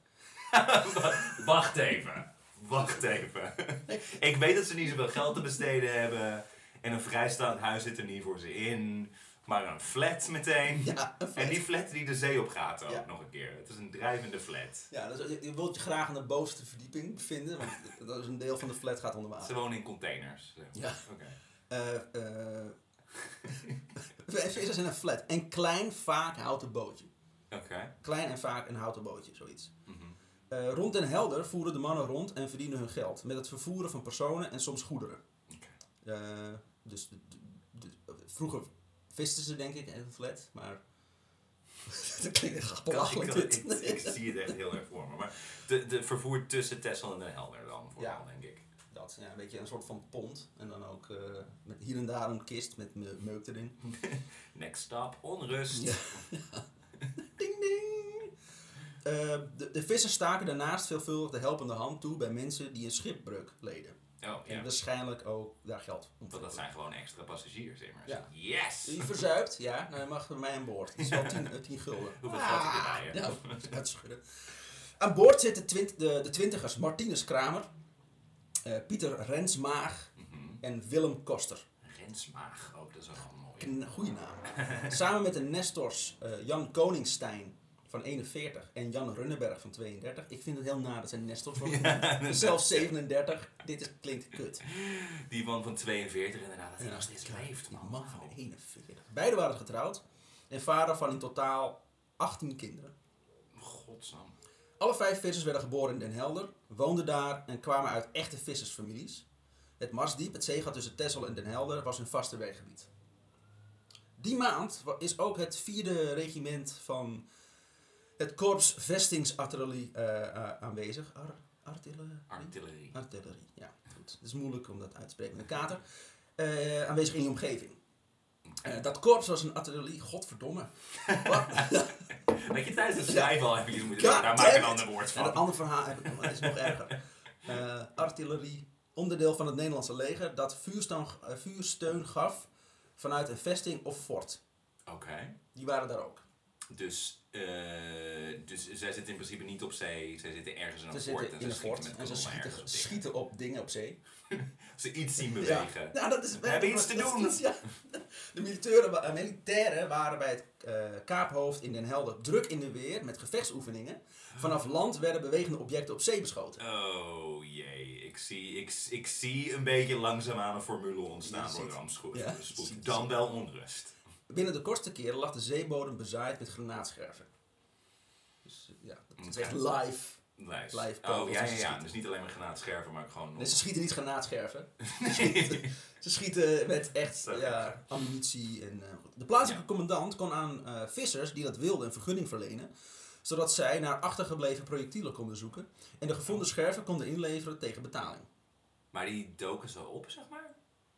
Speaker 1: Wacht even. Wacht even. ik weet dat ze niet zoveel geld te besteden hebben. En een vrijstaand huis zit er niet voor ze in. Maar een flat meteen.
Speaker 2: Ja, een flat.
Speaker 1: En die flat die de zee op gaat ook
Speaker 2: Ja.
Speaker 1: nog een keer. Het is een drijvende flat.
Speaker 2: Ja, dus je, je wilt je graag aan de bovenste verdieping bevinden, want dat is een deel van de flat gaat onder water.
Speaker 1: Ze wonen in containers. zeg maar.
Speaker 2: Ja.
Speaker 1: Oké.
Speaker 2: Eh eh vissers in een flat. Een klein, vaak houten bootje.
Speaker 1: Oké.
Speaker 2: Klein en vaak een houten bootje, zoiets.
Speaker 1: Mhm.
Speaker 2: Eh, rond Den Helder voeren de mannen rond en verdienen hun geld met het vervoeren van personen en soms goederen.
Speaker 1: Oké.
Speaker 2: Eh, dus de- de- de- vroeger visten ze denk ik in een flat, maar dat klinkt echt belachelijk
Speaker 1: ik,
Speaker 2: dit.
Speaker 1: ik, ik zie het echt heel erg voor me. Maar de, de vervoer tussen Texel en Den Helder dan vooral,
Speaker 2: Ja.
Speaker 1: denk ik.
Speaker 2: Dat, ja, een beetje een soort van pont en dan ook eh, met hier en daar een kist met me- meuk erin.
Speaker 1: Next stop, onrust.
Speaker 2: Ja. Ding ding! Eh, de, de vissers staken daarnaast veelvuldig de helpende hand toe bij mensen die een schipbreuk leden.
Speaker 1: Oh, ja.
Speaker 2: En waarschijnlijk ook daar geld om
Speaker 1: Want dat zijn gewoon extra passagiers immers.
Speaker 2: Ja.
Speaker 1: Yes!
Speaker 2: Die verzuipt, ja, nou, je mag bij mij aan boord. Het is wel 10 eh, 10 gulden. Ah,
Speaker 1: Hoeveel geld heb je bij je?
Speaker 2: Ja, uitschudden. Aan boord zitten twint- de, de twintigers Martinus Kramer, eh, Pieter Rensmaag
Speaker 1: Mhm.
Speaker 2: en Willem Koster.
Speaker 1: Rensmaag, ook dat is wel een mooie.
Speaker 2: Een goede naam. Samen met de Nestors eh, Jan Koningstein van 41 en Jan Runneberg van 32. Ik vind het heel na dat zijn Nestors worden.
Speaker 1: dat-
Speaker 2: Zelfs 37. Dit is, klinkt kut.
Speaker 1: Die man van 42 inderdaad, dat hij
Speaker 2: Ja.
Speaker 1: nog steeds leeft, man. Oh,
Speaker 2: Een man van
Speaker 1: Wauw.
Speaker 2: 41. Beiden waren getrouwd en vader van in totaal 18 kinderen.
Speaker 1: Godsam.
Speaker 2: Alle vijf vissers werden geboren in Den Helder, woonden daar en kwamen uit echte vissersfamilies. Het Marsdiep, het zeegat tussen Texel en Den Helder, was hun vaste weergebied. Die maand wa- is ook het vierde regiment van het Korps Vestingsartillerie eh, eh, aanwezig. Ar artillerie?
Speaker 1: Artillerie.
Speaker 2: Artillerie, ja. Goed. Het is moeilijk om dat uit te spreken met een kater. Eh, aanwezig in die omgeving. Eh, dat korps was een artillerie, godverdomme. Wat?
Speaker 1: Dat je tijdens het schrijven al even moeten
Speaker 2: God
Speaker 1: doen. Daar maak ik een
Speaker 2: damn
Speaker 1: ander woord
Speaker 2: En
Speaker 1: van.
Speaker 2: dat andere verhaal heb ik nog, dat is nog erger. Eh, artillerie, onderdeel van het Nederlandse leger dat vuursteun, eh, vuursteun gaf vanuit een vesting of fort.
Speaker 1: Oké.
Speaker 2: Die waren daar ook.
Speaker 1: Dus, eh, dus zij zitten in principe niet op zee. Zij zitten ergens in
Speaker 2: Ze
Speaker 1: een fort. En
Speaker 2: zitten in
Speaker 1: ze
Speaker 2: een
Speaker 1: schieten
Speaker 2: fort
Speaker 1: met
Speaker 2: en
Speaker 1: kanonnen
Speaker 2: ze schieten,
Speaker 1: ergens op dingen.
Speaker 2: schieten op dingen op zee.
Speaker 1: Als Ze iets zien bewegen.
Speaker 2: Ja, nou, dat is
Speaker 1: We hebben iets te
Speaker 2: dat is
Speaker 1: doen.
Speaker 2: iets, ja. De militairen, wa- eh, militairen waren bij het eh, Kaaphoofd in Den Helder druk in de weer met gevechtsoefeningen.
Speaker 1: Ah.
Speaker 2: Vanaf land werden bewegende objecten op zee beschoten.
Speaker 1: Oh jee, ik zie, ik, ik zie een beetje langzaamaan een formule
Speaker 2: Je
Speaker 1: ontstaan
Speaker 2: ziet-
Speaker 1: door rampspoed.
Speaker 2: ja,
Speaker 1: spoed.
Speaker 2: je ziet-
Speaker 1: Dan wel onrust.
Speaker 2: Binnen de kortste keren lag de zeebodem bezaaid met granaatscherven. Dus eh, ja, dat is echt live.
Speaker 1: Lijst.
Speaker 2: Live
Speaker 1: oh
Speaker 2: kogels
Speaker 1: ja,
Speaker 2: en
Speaker 1: ja,
Speaker 2: ze
Speaker 1: ja.
Speaker 2: schieten.
Speaker 1: Dus niet alleen maar granaatscherven, maar ook gewoon.
Speaker 2: Nee, ze schieten niet granaatscherven.
Speaker 1: Nee.
Speaker 2: Ze schieten met echt
Speaker 1: Zo.
Speaker 2: ja, ammunitie. En, eh, goed. de plaatselijke
Speaker 1: Ja.
Speaker 2: commandant kon aan eh, vissers die dat wilden een vergunning verlenen. Zodat zij naar achtergebleven projectielen konden zoeken. En de gevonden
Speaker 1: Oh.
Speaker 2: scherven konden inleveren tegen betaling.
Speaker 1: maar die doken zo op, zeg maar.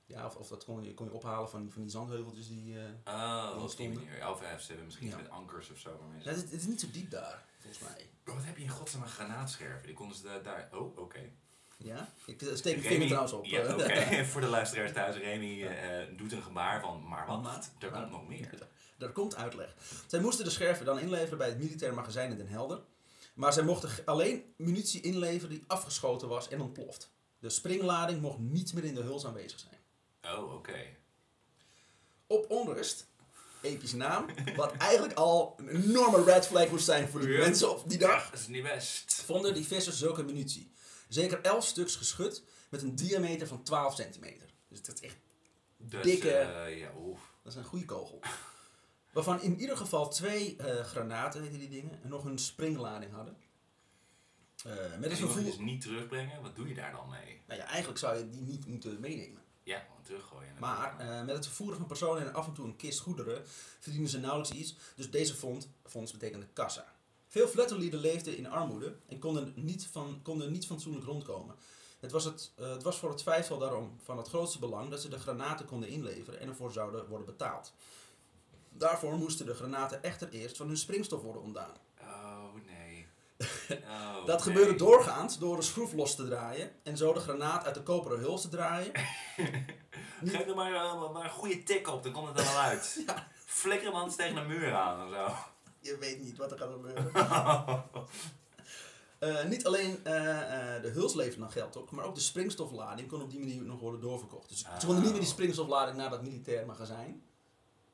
Speaker 2: Ja, of, of dat kon je, kon je ophalen van, die- van die zandheuveltjes die... eh,
Speaker 1: Oh, op die
Speaker 2: stonden.
Speaker 1: manier. Of eh, ze hebben misschien iets
Speaker 2: Ja.
Speaker 1: met ankers of zo. waarmee ze-
Speaker 2: Nou, Het, is- het is niet zo diep daar, volgens mij.
Speaker 1: Bro, wat heb je in godsnaam aan granaatscherven? Die konden ze daar. daar- Oh, oké.
Speaker 2: Ja? Ik eh, steek mijn
Speaker 1: Remy-
Speaker 2: vinger trouwens op.
Speaker 1: Ja, oké. Voor de luisteraars thuis, Remy eh, doet een gebaar van. Maar wat?
Speaker 2: Maar-
Speaker 1: er
Speaker 2: maar-
Speaker 1: komt nog meer.
Speaker 2: Daar komt uitleg. Zij moesten de scherven dan inleveren bij het militair magazijn in Den Helder. Maar zij mochten g- alleen munitie inleveren die afgeschoten was en ontploft. De springlading mocht niet meer in de huls aanwezig zijn.
Speaker 1: Oh, oké.
Speaker 2: Op onrust, epische naam, wat eigenlijk al een enorme red flag moest zijn voor de
Speaker 1: Ja.
Speaker 2: mensen op die dag,
Speaker 1: Dat is niet best.
Speaker 2: vonden die vissers zulke munitie. Zeker 11 stuks geschut met een diameter van 12 centimeter. Dus dat is echt
Speaker 1: Dus,
Speaker 2: dikke...
Speaker 1: eh, ja, oef.
Speaker 2: Dat is een goede kogel. Waarvan in ieder geval twee eh, granaten, heette die dingen, en nog een springlading hadden. Eh, met
Speaker 1: En
Speaker 2: als
Speaker 1: die moet je dus
Speaker 2: gevoel...
Speaker 1: niet terugbrengen, wat doe je daar dan mee?
Speaker 2: Nou ja, eigenlijk zou je die niet moeten meenemen.
Speaker 1: Ja, gewoon teruggooien.
Speaker 2: Maar eh, met het vervoeren van personen en af en toe een kist goederen verdienen ze nauwelijks iets. Dus deze fond, fonds betekende kassa. Veel flatterlieden leefden in armoede en konden niet, van, konden niet fatsoenlijk rondkomen. Het was, het, eh, het was voor het vijftal daarom van het grootste belang dat ze de granaten konden inleveren en ervoor zouden worden betaald. Daarvoor moesten de granaten echter eerst van hun springstof worden ontdaan.
Speaker 1: Oh nee. Oh,
Speaker 2: eh, Dat
Speaker 1: nee.
Speaker 2: gebeurde doorgaans door een schroef los te draaien en zo de granaat uit de koperen huls te draaien.
Speaker 1: Geef er maar, eh, maar een goede tik op, dan komt het er wel uit. Flikker hem anders tegen een muur aan of zo.
Speaker 2: Je weet niet wat er gaat gebeuren. Eh, niet alleen eh, eh, de huls leverde nog geld op, maar ook de springstoflading kon op die manier nog worden doorverkocht. Dus ze konden niet meer die springstoflading naar dat militair magazijn.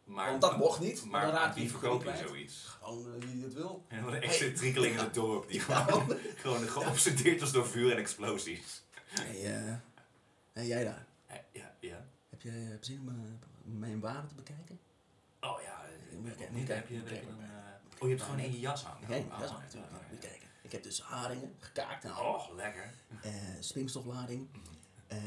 Speaker 1: Maar,
Speaker 2: Want dat mocht niet, want
Speaker 1: Maar
Speaker 2: dan raak je
Speaker 1: wie
Speaker 2: je
Speaker 1: verkoopt je
Speaker 2: kwijt.
Speaker 1: zoiets?
Speaker 2: Gewoon eh, wie het wil.
Speaker 1: En wat een excentriekeling in het dorp die
Speaker 2: Ja.
Speaker 1: gewoon, gewoon geobsedeerd was door vuur en explosies.
Speaker 2: Hey, eh, hey, jij daar.
Speaker 1: Eh, Ja, ja.
Speaker 2: Heb je eh, zin om eh, mijn waarde te bekijken?
Speaker 1: Oh ja,
Speaker 2: Je moet kijken,
Speaker 1: niet
Speaker 2: moet
Speaker 1: heb je
Speaker 2: kijken,
Speaker 1: heb je
Speaker 2: moet
Speaker 1: een... eh, Oh, je hebt gewoon in je jas hangen.
Speaker 2: Nee,
Speaker 1: Oh,
Speaker 2: dat is
Speaker 1: oh,
Speaker 2: natuurlijk.
Speaker 1: ja, ja,
Speaker 2: Moet
Speaker 1: ja.
Speaker 2: kijken. Ik heb dus haringen, gekaakt en al.
Speaker 1: Oh, lekker.
Speaker 2: Eh, springstoflading eh,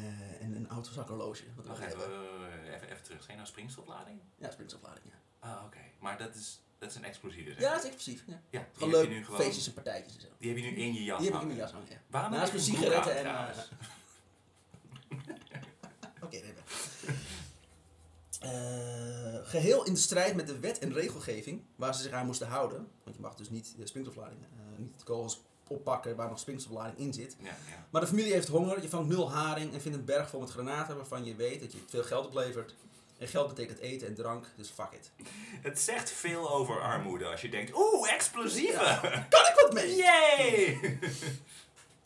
Speaker 2: en een oud zakhorloge. Wat wil
Speaker 1: Wacht
Speaker 2: je
Speaker 1: even,
Speaker 2: hebben?
Speaker 1: eh, even, even terug. Zijn nou springstoflading?
Speaker 2: Ja, springstoflading. Ja,
Speaker 1: Ah, oké. Maar dat is, dat is een explosieve. zeg.
Speaker 2: ja dat is explosief. Ja.
Speaker 1: ja die
Speaker 2: Gewoon
Speaker 1: heb je
Speaker 2: leuk,
Speaker 1: nu gewoon.
Speaker 2: feestjes en partijtjes en zo.
Speaker 1: Die heb je nu in je jas.
Speaker 2: Die heb ik in
Speaker 1: hangen.
Speaker 2: mijn jas hangen, ja.
Speaker 1: Waarom
Speaker 2: Naast
Speaker 1: heb je
Speaker 2: mijn
Speaker 1: een broek aan,
Speaker 2: sigaretten en, eh,
Speaker 1: trouwens?
Speaker 2: Oké, nee, nee. Eh, geheel in de strijd met de wet en regelgeving waar ze zich aan moesten houden. Want je mag dus niet de springstoflading, eh, niet de kogels oppakken waar nog springstoflading in zit.
Speaker 1: Ja, ja.
Speaker 2: Maar de familie heeft honger, je vangt nul haring en vindt een berg vol met granaten waarvan je weet dat je veel geld oplevert. En geld betekent eten en drank, dus fuck it.
Speaker 1: Het zegt veel over armoede als je denkt, oeh, explosieven!
Speaker 2: Kan ik wat mee?
Speaker 1: Yay!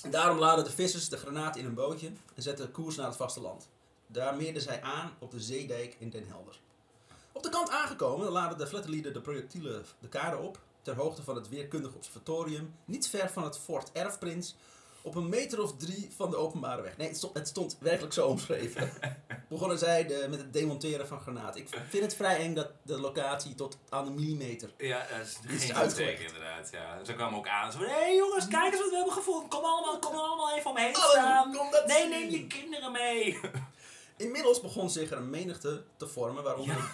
Speaker 2: En daarom laden de vissers de granaten in een bootje en zetten koers naar het vasteland. Daar meerden zij aan op de zeedijk in Den Helder. Op de kant aangekomen laden de flatterlieden de projectielen de kade op, ter hoogte van het weerkundig observatorium, niet ver van het fort Erfprins, op een meter of drie van de openbare weg. Nee, het stond, het stond werkelijk zo omschreven. Begonnen zij de- met het demonteren van granaten. Ik vind het vrij eng dat de locatie tot aan de millimeter
Speaker 1: Ja, dat is
Speaker 2: is
Speaker 1: geen goed
Speaker 2: uitgelegd.
Speaker 1: teken inderdaad. Ja. Ze kwamen ook aan. Zo van, hé hey, jongens, kijk eens wat we hebben gevonden. Kom allemaal, kom allemaal even omheen
Speaker 2: Oh,
Speaker 1: staan.
Speaker 2: kom dat
Speaker 1: nee,
Speaker 2: zien.
Speaker 1: neem je kinderen mee.
Speaker 2: Inmiddels begon zich er een menigte te vormen, waaronder,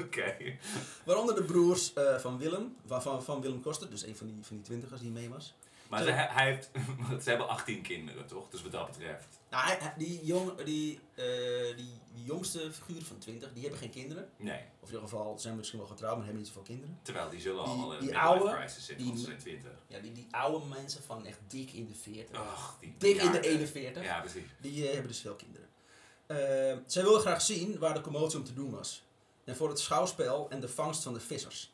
Speaker 1: Oké.
Speaker 2: waaronder de broers eh, van Willem, van, van, van Willem Koster, dus een van die, van die twintigers die mee was.
Speaker 1: Maar ze, hij heeft, want ze hebben 18 kinderen, toch? Dus wat dat betreft.
Speaker 2: Nou, hij- hij- die, jong, die, eh, die, die jongste figuren van twintig, die hebben geen kinderen.
Speaker 1: Nee.
Speaker 2: Of in ieder geval zijn misschien wel getrouwd, maar hebben niet zoveel kinderen.
Speaker 1: Terwijl die zullen
Speaker 2: Die-
Speaker 1: allemaal in de
Speaker 2: die
Speaker 1: midlife
Speaker 2: oude,
Speaker 1: crisis zitten, want ze
Speaker 2: die-
Speaker 1: zijn 20.
Speaker 2: Ja, die, die oude mensen van echt dik in de veertig.
Speaker 1: Ach, die
Speaker 2: dik in de
Speaker 1: bejaarden.
Speaker 2: 41.
Speaker 1: Ah. Ja, precies.
Speaker 2: Die eh, hebben dus veel kinderen. Eh, zij wilden graag zien waar de commotie om te doen was. En voor het schouwspel en de vangst van de vissers.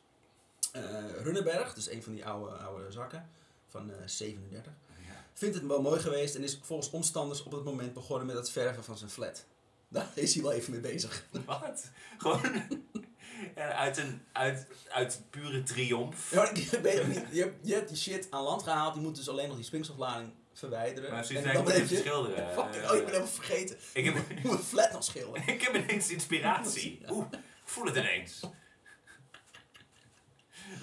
Speaker 2: Eh Runneberg, dus een van die oude, oude zakken van eh, 37,
Speaker 1: Ja.
Speaker 2: vindt het wel mooi geweest en is volgens omstanders op het moment begonnen met het verven van zijn flat. Daar is hij wel even mee bezig.
Speaker 1: Wat? Gewoon ja, uit, een, uit, uit pure triomf.
Speaker 2: Ja, maar ik weet het niet. Je, hebt, je hebt die shit aan land gehaald, je moet dus alleen nog die springstoflading verwijderen.
Speaker 1: Maar precies,
Speaker 2: En
Speaker 1: ik moet
Speaker 2: heb
Speaker 1: even
Speaker 2: je-
Speaker 1: schilderen.
Speaker 2: Fuck, oh, ik ben helemaal vergeten.
Speaker 1: Ik
Speaker 2: Ik
Speaker 1: heb-
Speaker 2: moet mijn flat nog schilderen.
Speaker 1: Ik heb ineens inspiratie. Oeh, ik voel het ineens.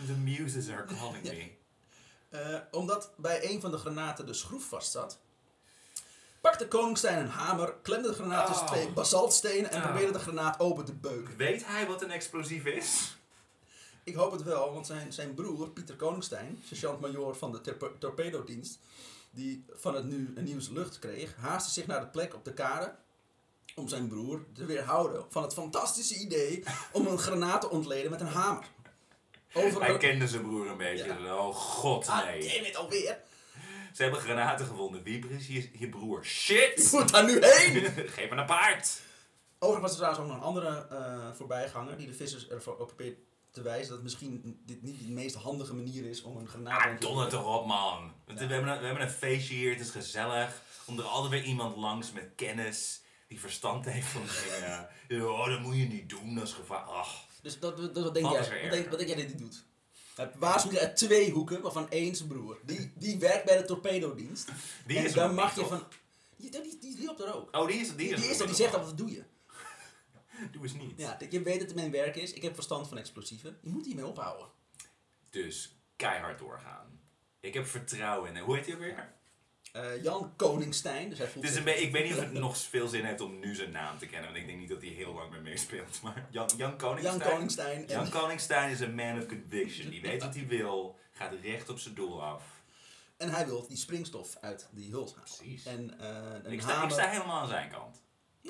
Speaker 1: The muses are calling me.
Speaker 2: Eh, omdat bij een van de granaten de schroef vast zat, pakte Koningstein een hamer, klemde de granaat tussen
Speaker 1: Oh.
Speaker 2: twee basaltstenen en
Speaker 1: Oh.
Speaker 2: probeerde de granaat open te beuken.
Speaker 1: Weet hij wat een explosief is?
Speaker 2: Ik hoop het wel, want zijn, zijn broer, Pieter Koningstein, sergeant-majoor van de terpe- torpedodienst, die van het nu een nieuws lucht kreeg, haastte zich naar de plek op de kade om zijn broer te weerhouden van het fantastische idee om een granaat te ontleden met een hamer.
Speaker 1: Hij
Speaker 2: Overal...
Speaker 1: kende zijn broer een beetje. Oh god,
Speaker 2: Ah,
Speaker 1: nee.
Speaker 2: damn it, alweer!
Speaker 1: Ze hebben granaten gevonden. Wie precies is je broer? Shit!
Speaker 2: Ik moet daar nu heen!
Speaker 1: Geef me een paard!
Speaker 2: Overigens was er trouwens ook nog een andere eh, voorbijganger die de vissers ervoor op probeert te wijzen dat misschien dit niet de meest handige manier is om een granaat
Speaker 1: Ah, donder toch op, man. Want
Speaker 2: Ja.
Speaker 1: We, hebben een, we hebben een feestje hier, het is gezellig. Komt er altijd weer iemand langs met kennis die verstand heeft van dingen. oh, dat moet je niet doen, dat is gevaar. Ach.
Speaker 2: Dus dat, dat, dat- wat, denk
Speaker 1: Wat
Speaker 2: jij,
Speaker 1: is er
Speaker 2: wat,
Speaker 1: erger?
Speaker 2: denk, wat denk jij dat hij doet? Hij waarschuwt uit twee hoeken, waarvan één zijn broer. Die, die werkt bij de torpedodienst.
Speaker 1: Die
Speaker 2: en
Speaker 1: is er
Speaker 2: daar
Speaker 1: nog
Speaker 2: mag
Speaker 1: niet,
Speaker 2: je
Speaker 1: toch?
Speaker 2: van... Die, die, die hielp er ook.
Speaker 1: Oh, die is, die
Speaker 2: Die,
Speaker 1: is,
Speaker 2: die is dat, die zegt dat, wat doe je?
Speaker 1: Doe eens niet.
Speaker 2: Ja, je weet dat het mijn werk is. Ik heb verstand van explosieven. Je moet hiermee ophouden.
Speaker 1: Dus keihard doorgaan. Ik heb vertrouwen in. Hoe heet hij ook weer?
Speaker 2: Eh, Jan Koningstein. Dus hij voelt
Speaker 1: Het is
Speaker 2: zich-
Speaker 1: een be- ik weet niet of het nog veel zin heeft om nu zijn naam te kennen. Want ik denk niet dat hij heel lang meer meespeelt. Maar Jan, Jan Koningstein.
Speaker 2: Jan Koningstein. En,
Speaker 1: Jan Koningstein is een man of conviction. Die weet wat hij wil. Gaat recht op zijn doel af.
Speaker 2: en hij wil die springstof uit die huls halen.
Speaker 1: Precies.
Speaker 2: En eh een
Speaker 1: Ik sta, ik
Speaker 2: hamer-
Speaker 1: sta helemaal aan zijn kant.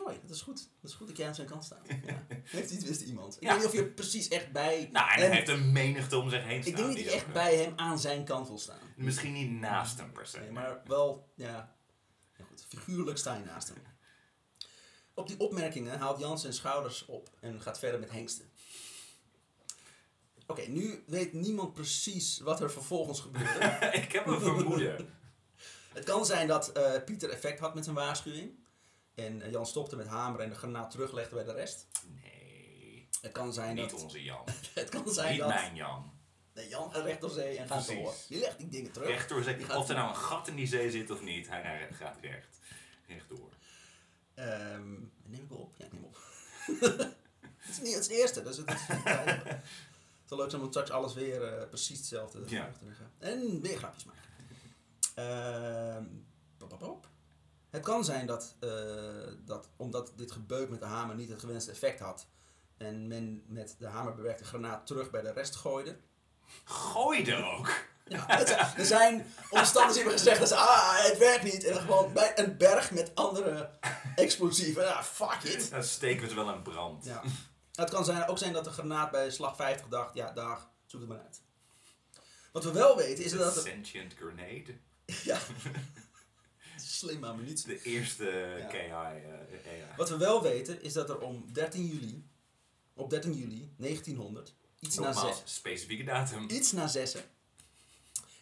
Speaker 2: Mooi, dat is goed. Dat is goed dat jij aan zijn kant staat. Ja. Heeft iets wist iemand. Ik
Speaker 1: Ja.
Speaker 2: weet niet of je precies echt bij
Speaker 1: Nou, en hij
Speaker 2: hem...
Speaker 1: heeft een menigte om zich heen staan.
Speaker 2: Ik denk
Speaker 1: nou
Speaker 2: niet dat
Speaker 1: die
Speaker 2: je echt
Speaker 1: ook-
Speaker 2: bij hem aan zijn kant wil staan.
Speaker 1: Misschien niet naast hem per se.
Speaker 2: Nee, maar wel, ja... ja goed, figuurlijk sta je naast hem. Op die opmerkingen haalt Jan zijn schouders op en gaat verder met hengsten. Oké, nu weet niemand precies wat er vervolgens gebeurde.
Speaker 1: ik heb een vermoeden.
Speaker 2: Het kan zijn dat eh, Pieter effect had met zijn waarschuwing. En eh, Jan stopte met hameren en de granaat teruglegde bij de rest.
Speaker 1: Nee.
Speaker 2: Het kan zijn
Speaker 1: Niet
Speaker 2: dat...
Speaker 1: onze Jan.
Speaker 2: Het kan zijn
Speaker 1: niet
Speaker 2: dat...
Speaker 1: mijn Jan.
Speaker 2: Nee, Jan gaat recht door zee en gaat
Speaker 1: Precies.
Speaker 2: door. Je legt die dingen terug.
Speaker 1: Recht door
Speaker 2: Die
Speaker 1: zee.
Speaker 2: gaat-
Speaker 1: Of er nou een gat in die zee zit of niet, hij hij gaat recht. Rechtdoor.
Speaker 2: Ehm, neem ik wel op? Ja, ik neem op. het is niet het, is de eerste, dus het is niet het is wel leuk zijn om straks alles weer eh, precies hetzelfde
Speaker 1: Ja.
Speaker 2: terug te leggen. En weer grapjes maken. Ehm, pop, pop, pop. Het kan zijn dat, eh, dat omdat dit gebeuk met de hamer niet het gewenste effect had en men met de hamer bewerkte granaat terug bij de rest gooide,
Speaker 1: Gooi er ook.
Speaker 2: Ja, het zijn- er zijn omstanders die hebben gezegd dat ze, ah, het werkt niet. En dan gewoon bij een berg met andere explosieven. Ah, fuck it.
Speaker 1: Dan steken we het wel in brand.
Speaker 2: Ja. Het kan zijn, ook zijn dat de granaat bij slag 50 dacht, ja, dag, zoek het maar uit. Wat we wel weten is
Speaker 1: Een
Speaker 2: dat... Het,
Speaker 1: sentient grenade.
Speaker 2: ja, slimme ammunitie.
Speaker 1: De eerste
Speaker 2: Ja.
Speaker 1: KI. eh, AI.
Speaker 2: Wat we wel weten is dat er om 13 juli, op 13 juli 1900, iets na zes,
Speaker 1: Nogmaals, specifieke datum.
Speaker 2: iets na zessen,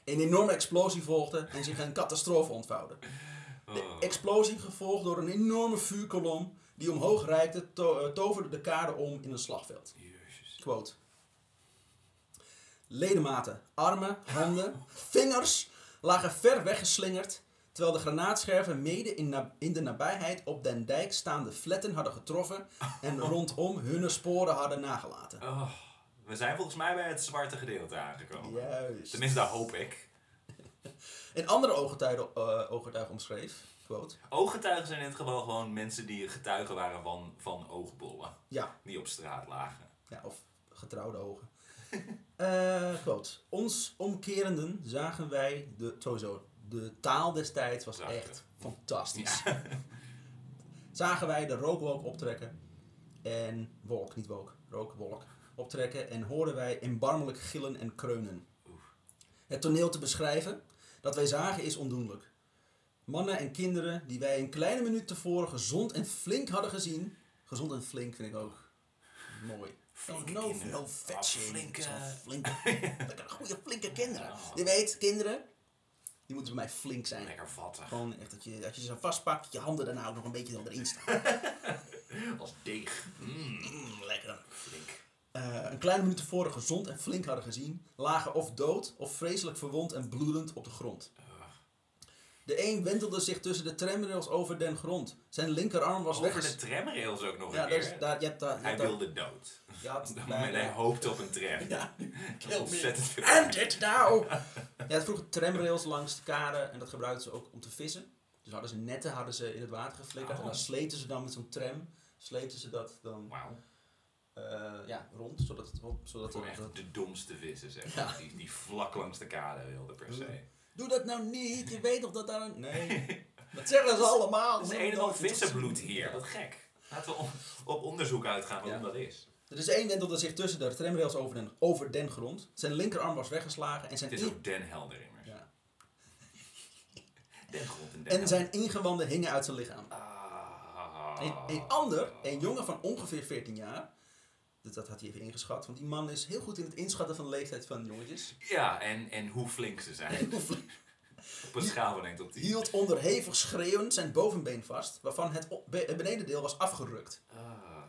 Speaker 2: een enorme explosie volgde en zich een catastrofe ontvouwde. De
Speaker 1: Oh.
Speaker 2: explosie gevolgd door een enorme vuurkolom die omhoog reikte, to- eh, toverde de kade om in een slagveld.
Speaker 1: Jezus.
Speaker 2: Quote. Ledematen, armen, handen, vingers lagen ver weggeslingerd, terwijl de granaatscherven mede in, na- in de nabijheid op den dijk staande fletten hadden getroffen en rondom hun sporen hadden nagelaten.
Speaker 1: Oh. We zijn volgens mij bij het zwarte gedeelte aangekomen.
Speaker 2: Juist.
Speaker 1: Tenminste, dat hoop ik.
Speaker 2: Een andere ooggetuige, eh, ooggetuige omschreef, quote,
Speaker 1: Ooggetuigen zijn in dit geval gewoon mensen die getuigen waren van, van oogbollen.
Speaker 2: ja,
Speaker 1: Die op straat lagen.
Speaker 2: Ja, of getrouwde ogen. Eh quote. Ons omkerenden zagen wij de, sowieso, de taal destijds was
Speaker 1: Prachtig.
Speaker 2: echt fantastisch. Zagen wij de rookwolk optrekken en wolk, niet wolk, rookwolk optrekken en hoorden wij erbarmelijk gillen en kreunen. Het toneel te beschrijven dat wij zagen is ondoenlijk. Mannen en kinderen die wij een kleine minuut tevoren gezond en flink hadden gezien. Gezond en flink vind ik ook mooi.
Speaker 1: Flinke
Speaker 2: no,
Speaker 1: kinderen.
Speaker 2: no fat
Speaker 1: Ah,
Speaker 2: shaming.
Speaker 1: flinke- Oh.
Speaker 2: Zo'n flinke. Lekker goede flinke kinderen. Je weet, kinderen, die moeten bij mij flink zijn.
Speaker 1: Lekker vattig.
Speaker 2: Gewoon echt dat je, als je ze vastpakt, dat je handen daarna ook nog een beetje erin staan. Oh.
Speaker 1: Als deeg. Mm,
Speaker 2: Mm, lekker.
Speaker 1: flink.
Speaker 2: Eh, een kleine minuut tevoren gezond en flink hadden gezien, lagen of dood of vreselijk verwond en bloedend op de grond. De een wentelde zich tussen de tramrails over den grond. Zijn linkerarm was
Speaker 1: Over
Speaker 2: weg.
Speaker 1: de tramrails ook nog
Speaker 2: Ja,
Speaker 1: een
Speaker 2: dat
Speaker 1: keer.
Speaker 2: is, daar, je hebt daar. je
Speaker 1: Hij
Speaker 2: hebt daar-
Speaker 1: wilde dood.
Speaker 2: je had-
Speaker 1: Op dat
Speaker 2: daar-
Speaker 1: moment, hij hoopte op een tram.
Speaker 2: Ja, kill
Speaker 1: Ontzettend
Speaker 2: me.
Speaker 1: veel.
Speaker 2: End it now! Ja, het vroeger tramrails langs de kade en dat gebruikten ze ook om te vissen. Dus hadden ze netten hadden ze in het water geflikkerd
Speaker 1: Oh.
Speaker 2: en dan sleten ze dan met zo'n tram, sleepten ze dat dan
Speaker 1: Wauw.
Speaker 2: eh, ja, rond, zodat het... Zodat
Speaker 1: Voor
Speaker 2: het dat-
Speaker 1: echt de domste vissen, zeg.
Speaker 2: Ja.
Speaker 1: Die, die vlak langs de kade wilden per se.
Speaker 2: Doe dat nou niet, je weet toch dat daar een... Nee, dat zeggen ze allemaal.
Speaker 1: Dat is een en al vissenbloed hier. Wat gek. Laten we on- op onderzoek uitgaan waarom
Speaker 2: Ja.
Speaker 1: dat is.
Speaker 2: Er is één wendelde zich tussen de tramrails over den, over den grond. Zijn linkerarm was weggeslagen en zijn,
Speaker 1: Het is
Speaker 2: in-
Speaker 1: ook Den Helder immers.
Speaker 2: Ja.
Speaker 1: Den Grond en Den
Speaker 2: en zijn ingewanden hingen uit zijn lichaam. Een,
Speaker 1: Ah.
Speaker 2: een ander, een jongen van ongeveer 14 jaar... Dat, dat had hij even ingeschat, want die man is heel goed in het inschatten van de leeftijd van jongetjes.
Speaker 1: Ja, en, en hoe flink ze zijn. op een schaal van 1 tot 10.
Speaker 2: Hield onderhevig schreeuwend zijn bovenbeen vast, waarvan het op- be- het benedendeel was afgerukt.
Speaker 1: Ah.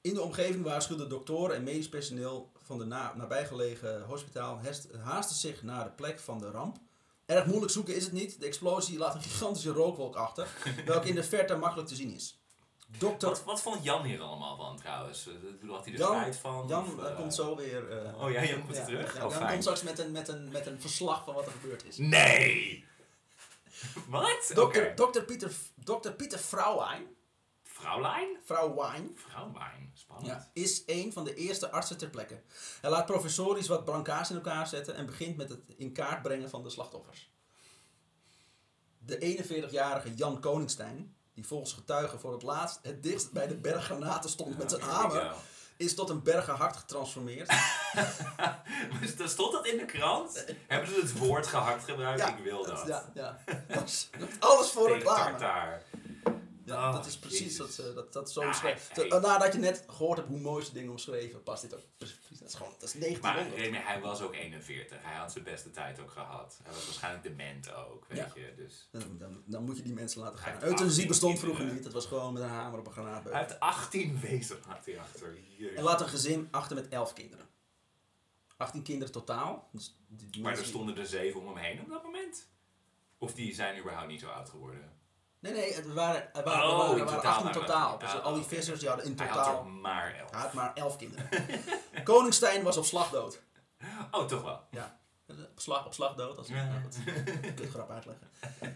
Speaker 2: In de omgeving waarschuwden doktoren en medisch personeel van de na- nabijgelegen hospitaal hest- haasten zich naar de plek van de ramp Erg moeilijk zoeken is het niet. De explosie laat een gigantische rookwolk achter, welke in de verte makkelijk te zien is. Dokter
Speaker 1: Wat, wat vond Jan hier allemaal van trouwens? Eh, ik bedoel, Had hij er
Speaker 2: Jan-
Speaker 1: spijt van?
Speaker 2: Jan
Speaker 1: Of,
Speaker 2: eh,
Speaker 1: eh,
Speaker 2: komt zo weer. eh,
Speaker 1: Oh ja, Jan komt
Speaker 2: ja,
Speaker 1: terug?
Speaker 2: ja,
Speaker 1: Oh,
Speaker 2: Jan
Speaker 1: fijn.
Speaker 2: komt straks met een, met, een, met een verslag van wat er gebeurd is.
Speaker 1: Nee! wat? Oké.
Speaker 2: Dokter, dokter Pieter, dokter Pieter Vrouwijn,
Speaker 1: Vrouwlijn?
Speaker 2: Vrouwijn
Speaker 1: Vrouwlijn. Spannend.
Speaker 2: ja, is een van de eerste artsen ter plekke. Hij laat professorisch wat brancards in elkaar zetten en begint met het in kaart brengen van de slachtoffers. De 41-jarige Jan Koningstein, die volgens getuigen voor het laatst het dichtst bij de berg granaten stond met zijn
Speaker 1: Oké, there you
Speaker 2: hamer, is tot een bergenhart getransformeerd.
Speaker 1: go. Dus dan stond dat in de krant? Hebben ze het woord gehakt gebruikt?
Speaker 2: Ja,
Speaker 1: ik wil dat.
Speaker 2: Ja, ja. Alles voor
Speaker 1: Tegen
Speaker 2: reclame.
Speaker 1: tartaar.
Speaker 2: Ja,
Speaker 1: Oh,
Speaker 2: dat is precies dat,
Speaker 1: Jezus.
Speaker 2: eh, dat, dat zo
Speaker 1: Ah,
Speaker 2: omschreven.
Speaker 1: hey.
Speaker 2: Zo, Nadat je net gehoord hebt hoe mooi ze dingen omschreven, past dit ook precies. Dat is gewoon, dat is
Speaker 1: Maar
Speaker 2: 1900.
Speaker 1: Remy, hij was ook 41. Hij had zijn beste tijd ook gehad. Hij was waarschijnlijk dement ook, weet je. Dus.
Speaker 2: Dan, dan, dan moet je die mensen laten
Speaker 1: Hij
Speaker 2: gaan.
Speaker 1: heeft 18
Speaker 2: Euthanasie bestond vroeger
Speaker 1: kinderen.
Speaker 2: niet. Het was gewoon met een hamer op een granaatbeuk.
Speaker 1: eh, Hij heeft 18 wezen had hij achter. Jezus.
Speaker 2: En laat een gezin achter met 11 kinderen. 18 kinderen totaal. Dus die- die
Speaker 1: Maar er
Speaker 2: mensen-
Speaker 1: stonden er zeven om hem heen op dat moment. Of die zijn überhaupt niet zo oud geworden.
Speaker 2: Nee, nee, het waren, er waren,
Speaker 1: Oh,
Speaker 2: er waren,
Speaker 1: in
Speaker 2: er waren
Speaker 1: totaal
Speaker 2: 18
Speaker 1: waren er-
Speaker 2: totaal. Dus
Speaker 1: ah,
Speaker 2: al die
Speaker 1: oké.
Speaker 2: vissers die hadden in
Speaker 1: Hij had er
Speaker 2: totaal.
Speaker 1: maar elf.
Speaker 2: Hij had maar 11 kinderen. Koningstein was op slag dood.
Speaker 1: Oh, toch wel.
Speaker 2: Ja. Op slag, op slag dood. Als
Speaker 1: Ja.
Speaker 2: ja. goed. Ik kan het grap uitleggen.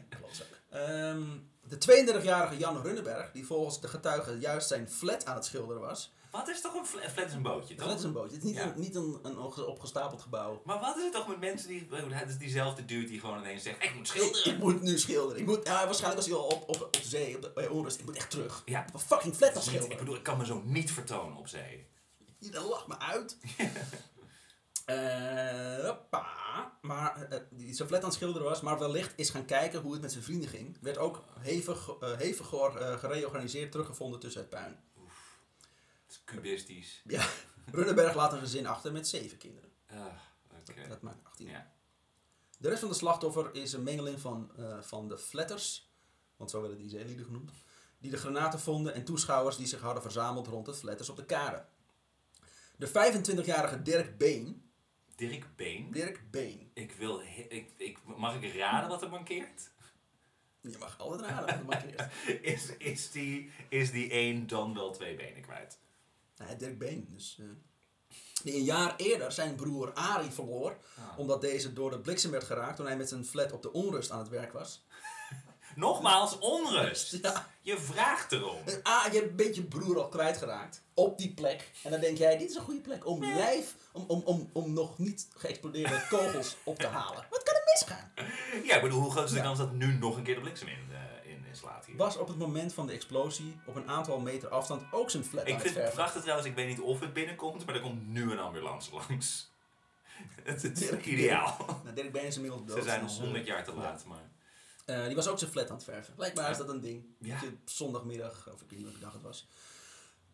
Speaker 2: Klootzak. Ehm, de 32-jarige Jan Runneberg, die volgens de getuigen juist zijn flat aan het schilderen was.
Speaker 1: Wat is toch een flat, flat is een bootje, toch?
Speaker 2: Dat is een bootje. Het is niet,
Speaker 1: Ja.
Speaker 2: een, niet een, een opge- opgestapeld gebouw.
Speaker 1: Maar wat is het toch met mensen die... Het is diezelfde dude die gewoon ineens zegt... Ik moet
Speaker 2: Ik,
Speaker 1: schilderen.
Speaker 2: ik moet nu schilderen. Ik moet, ja, waarschijnlijk was hij al op, op, op zee, op de, bij onrust. Ik moet echt terug.
Speaker 1: Ja.
Speaker 2: Ik moet een fucking flat aan
Speaker 1: Dat is niet- ik
Speaker 2: schilderen.
Speaker 1: bedoel, ik kan me zo niet vertonen op zee.
Speaker 2: Iedereen lacht me uit. Eh, hoppa. Maar eh, die zijn flat aan het schilderen was, maar wellicht is gaan kijken hoe het met zijn vrienden ging. Werd ook hevig, eh, hevig geor- eh, gereorganiseerd teruggevonden tussen het puin.
Speaker 1: Het is cubistisch.
Speaker 2: Ja, Runneberg laat een gezin achter met zeven kinderen.
Speaker 1: Ah, Oké.
Speaker 2: Dat maakt 18.
Speaker 1: Ja.
Speaker 2: De rest van de slachtoffer is een mengeling van, eh, van de flatters, want zo werden die zeelieden genoemd, die de granaten vonden en toeschouwers die zich hadden verzameld rond de flatters op de kade. De 25-jarige Dirk Been,
Speaker 1: Dirk Been.
Speaker 2: Dirk Been,
Speaker 1: Ik wil... he- Ik, ik, mag ik raden wat er mankeert?
Speaker 2: je mag altijd raden wat er markeert.
Speaker 1: Is, is, die, is die één dan wel twee benen kwijt?
Speaker 2: Nee, Dirk Been, dus, eh, die een jaar eerder zijn broer Arie verloor,
Speaker 1: Ah.
Speaker 2: omdat deze door de bliksem werd geraakt toen hij met zijn flat op de onrust aan het werk was.
Speaker 1: Nogmaals, onrust.
Speaker 2: Ja.
Speaker 1: Je vraagt erom.
Speaker 2: En A, je bent je broer al kwijtgeraakt op die plek. En dan denk jij, dit is een goede plek om lijf, om, om, om, om nog niet geëxplodeerde kogels op te halen. Wat kan er misgaan?
Speaker 1: Ja, ik bedoel, hoe groot is de
Speaker 2: Ja.
Speaker 1: kans dat nu nog een keer de bliksem in, eh, in, in slaat hier?
Speaker 2: Was op het moment van de explosie op een aantal meter afstand ook zijn flat aan
Speaker 1: Ik
Speaker 2: het
Speaker 1: vind het
Speaker 2: verven.
Speaker 1: prachtig trouwens, ik weet niet of het binnenkomt, maar er komt nu een ambulance langs. Het is
Speaker 2: Dirk
Speaker 1: ideaal.
Speaker 2: Nou, Dirk Been is inmiddels dood.
Speaker 1: Ze zijn
Speaker 2: dus, eh,
Speaker 1: 100 jaar te laat, maar...
Speaker 2: eh, die was ook zijn flat aan het verven. Blijkbaar is dat een ding.
Speaker 1: Ja.
Speaker 2: Dat je op zondagmiddag, of ik weet niet welke dag het was,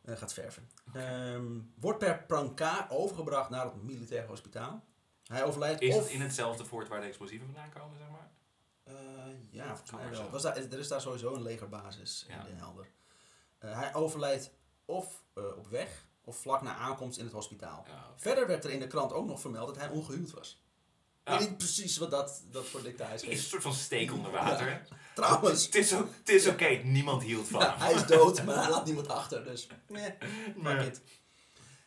Speaker 2: eh, gaat verven. Ehm, wordt per prankaar overgebracht naar het militair hospitaal. Hij overlijdt
Speaker 1: Is
Speaker 2: of...
Speaker 1: het in hetzelfde voort waar de explosieven vandaan komen, zeg maar?
Speaker 2: Eh, ja, volgens mij
Speaker 1: maar
Speaker 2: wel.
Speaker 1: zo.
Speaker 2: Was daar, er is daar sowieso een legerbasis
Speaker 1: Ja.
Speaker 2: in Den Helder. Eh, hij overlijdt of eh, op weg of vlak na aankomst in het hospitaal.
Speaker 1: Ja, oké.
Speaker 2: Verder werd er in de krant ook nog vermeld dat hij ongehuwd was. Ik
Speaker 1: Ah.
Speaker 2: weet niet precies wat dat, dat voor details
Speaker 1: Het is een
Speaker 2: is.
Speaker 1: soort van steek onder water.
Speaker 2: Trouwens,
Speaker 1: Het is, o- het is oké, niemand hield van
Speaker 2: ja,
Speaker 1: hem.
Speaker 2: hij is dood, maar hij laat niemand achter. Dus meh,
Speaker 1: Maar-
Speaker 2: fuck it.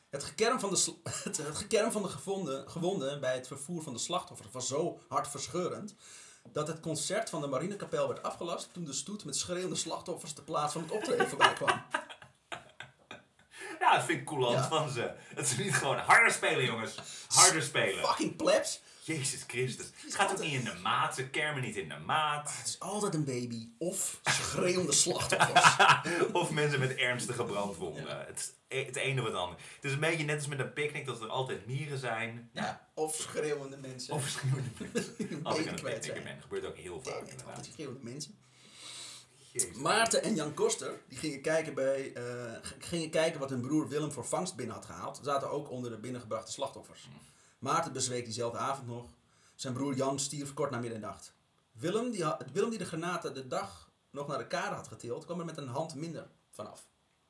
Speaker 2: Het gekerm van de, sl- het, het gekerm van de gevonden, gewonden bij het vervoer van de slachtoffer was zo hartverscheurend dat het concert van de Marinekapel werd afgelast toen de stoet met schreeuwende slachtoffers de plaats van het optreden voorbij kwam.
Speaker 1: Ja, dat vind ik coulant
Speaker 2: Ja.
Speaker 1: van ze. Het is niet gewoon harder spelen, jongens. Harder spelen.
Speaker 2: Fucking plebs!
Speaker 1: Jezus Christus. Het gaat ook niet in de maat. Ze kermen niet in de maat.
Speaker 2: Het is altijd een baby of schreeuwende slachtoffers.
Speaker 1: Of mensen met ernstige brandwonden. Het, is e- het ene of het ander. Het is een beetje net als met een picknick dat er altijd mieren zijn.
Speaker 2: Ja, of schreeuwende mensen.
Speaker 1: Of verschillende mensen. Als ik
Speaker 2: een beetje
Speaker 1: aan het
Speaker 2: kwijt
Speaker 1: picknicken
Speaker 2: zijn.
Speaker 1: ben, gebeurt ook heel vaak
Speaker 2: Damn it, altijd
Speaker 1: inderdaad.
Speaker 2: schreeuwende mensen.
Speaker 1: Jezus.
Speaker 2: Maarten en Jan Koster die gingen, kijken bij, eh, g- gingen kijken wat hun broer Willem voor vangst binnen had gehaald. Zaten ook onder de binnengebrachte slachtoffers.
Speaker 1: Mm.
Speaker 2: Maarten bezweek diezelfde avond nog. Zijn broer Jan stierf kort na middernacht. Willem die, ha- Willem die de granaten de dag nog naar de kade had getild, kwam er met een hand minder vanaf.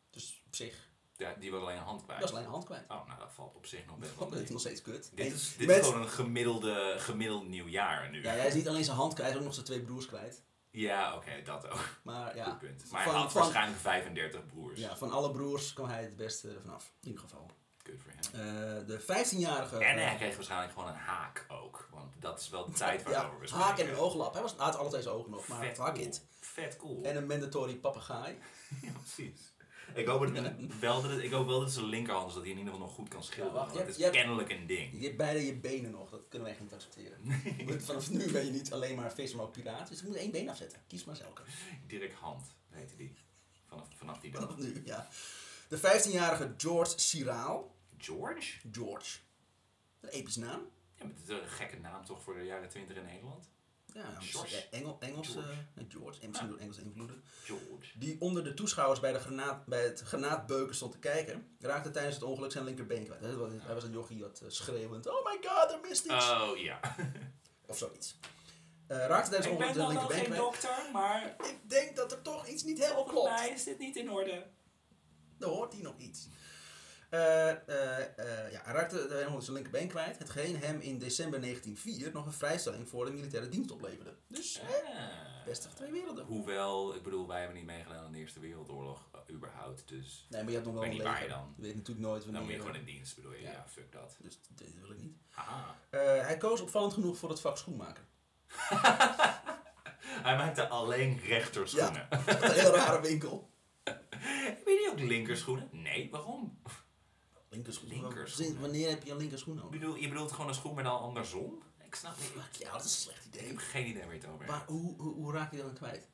Speaker 2: Dus op zich.
Speaker 1: ja, die was alleen een hand kwijt.
Speaker 2: Dat is alleen hand kwijt.
Speaker 1: Oh, nou dat valt op zich nog best wel
Speaker 2: Dat is
Speaker 1: mee.
Speaker 2: nog steeds kut.
Speaker 1: Dit
Speaker 2: En
Speaker 1: is, dit
Speaker 2: met-
Speaker 1: is gewoon een gemiddelde, gemiddeld nieuwjaar nu.
Speaker 2: Ja, hij is niet alleen zijn hand kwijt, hij is ook nog zijn twee broers kwijt.
Speaker 1: Ja, oké, dat ook.
Speaker 2: Maar
Speaker 1: Goed
Speaker 2: ja,
Speaker 1: punt. Maar
Speaker 2: Van-
Speaker 1: hij had
Speaker 2: van-
Speaker 1: waarschijnlijk 35 broers.
Speaker 2: ja, van alle broers kwam hij het beste vanaf. In ieder geval.
Speaker 1: Good for him.
Speaker 2: Eh, de eh, 15-jarige.
Speaker 1: En hij kreeg waarschijnlijk gewoon een haak ook. Want dat is wel de tijd waarover we
Speaker 2: ja, haak en een ooglap. Hij was, hij had alle twee zijn ogen nog, maar
Speaker 1: Vet
Speaker 2: het
Speaker 1: cool.
Speaker 2: hak it.
Speaker 1: Vet cool.
Speaker 2: En een mandatory papegaai.
Speaker 1: Ja, precies. Ik hoop, het, wel dat het- ik hoop wel dat het zijn linkerhand is, dat hij in ieder geval nog goed kan schilderen.
Speaker 2: Ja, wacht, je
Speaker 1: want
Speaker 2: hebt-
Speaker 1: het
Speaker 2: je
Speaker 1: is
Speaker 2: hebt-
Speaker 1: kennelijk een ding.
Speaker 2: Je hebt beide je benen nog, dat kunnen wij echt niet accepteren. Je moet- Vanaf nu ben je niet alleen maar vis, maar ook piraat. Dus je moet één been afzetten. Kies maar zelke.
Speaker 1: Dirk Hand heette die. Vanaf, vanaf die dag.
Speaker 2: Vanaf nu, ja. De 15-jarige George Siraal.
Speaker 1: George?
Speaker 2: George. Een epische naam.
Speaker 1: Ja, maar het is een gekke naam toch voor de jaren 20 in Nederland?
Speaker 2: Ja,
Speaker 1: George.
Speaker 2: misschien Engel, Engels,
Speaker 1: George.
Speaker 2: George. George. En misschien door Engelse invloeden.
Speaker 1: George.
Speaker 2: Die onder de toeschouwers bij, de granaat, bij het granaatbeuken stond te kijken, raakte tijdens het ongeluk zijn linkerbeen kwijt. Hij was- Hij was een jochie dat eh, schreeuwend, oh my god, er mist iets.
Speaker 1: Oh ja.
Speaker 2: Of zoiets. Eh, raakte tijdens het
Speaker 1: Ik
Speaker 2: ongeluk
Speaker 1: ben
Speaker 2: zijn
Speaker 1: dan wel
Speaker 2: linkerbeen
Speaker 1: geen
Speaker 2: kwijt.
Speaker 1: dokter, maar
Speaker 2: Ik denk dat er toch iets niet helemaal
Speaker 1: volgens mij
Speaker 2: klopt.
Speaker 1: is dit niet in orde.
Speaker 2: Dan hoort hij nog iets. Eh, eh, eh, ja, hij raakte de helemaal zijn linkerbeen kwijt, hetgeen hem in december 1904 nog een vrijstelling voor de militaire dienst opleverde. Dus, eh,
Speaker 1: Ah.
Speaker 2: beste van twee werelden.
Speaker 1: Hoewel, ik bedoel, wij hebben niet meegedaan aan de Eerste Wereldoorlog, eh, überhaupt. Dus
Speaker 2: Nee, maar je hebt nog wel
Speaker 1: weet
Speaker 2: een
Speaker 1: niet waar
Speaker 2: leger.
Speaker 1: je dan-
Speaker 2: Je weet natuurlijk nooit wanneer...
Speaker 1: dan moet je gewoon in dienst, bedoel je?
Speaker 2: Ja.
Speaker 1: Ja, fuck dat.
Speaker 2: Dus dit wil ik niet.
Speaker 1: Haha.
Speaker 2: Eh, hij koos opvallend genoeg voor het vak schoenmaker.
Speaker 1: Hij maakte alleen rechterschoenen.
Speaker 2: Dat is een heel rare winkel.
Speaker 1: Heb je niet ook linkerschoenen? Nee, waarom?
Speaker 2: Linkerschoen.
Speaker 1: Linkerschoen.
Speaker 2: Sinds wanneer heb je een linkerschoen
Speaker 1: Ik
Speaker 2: nodig?
Speaker 1: bedoel, je bedoelt gewoon een schoen, maar dan andersom? Ik snap niet.
Speaker 2: Fuck ja, dat is een slecht
Speaker 1: Ik
Speaker 2: idee.
Speaker 1: heb geen idee waar je het over hebt.
Speaker 2: Maar hoe, hoe, hoe raak je dat dan kwijt?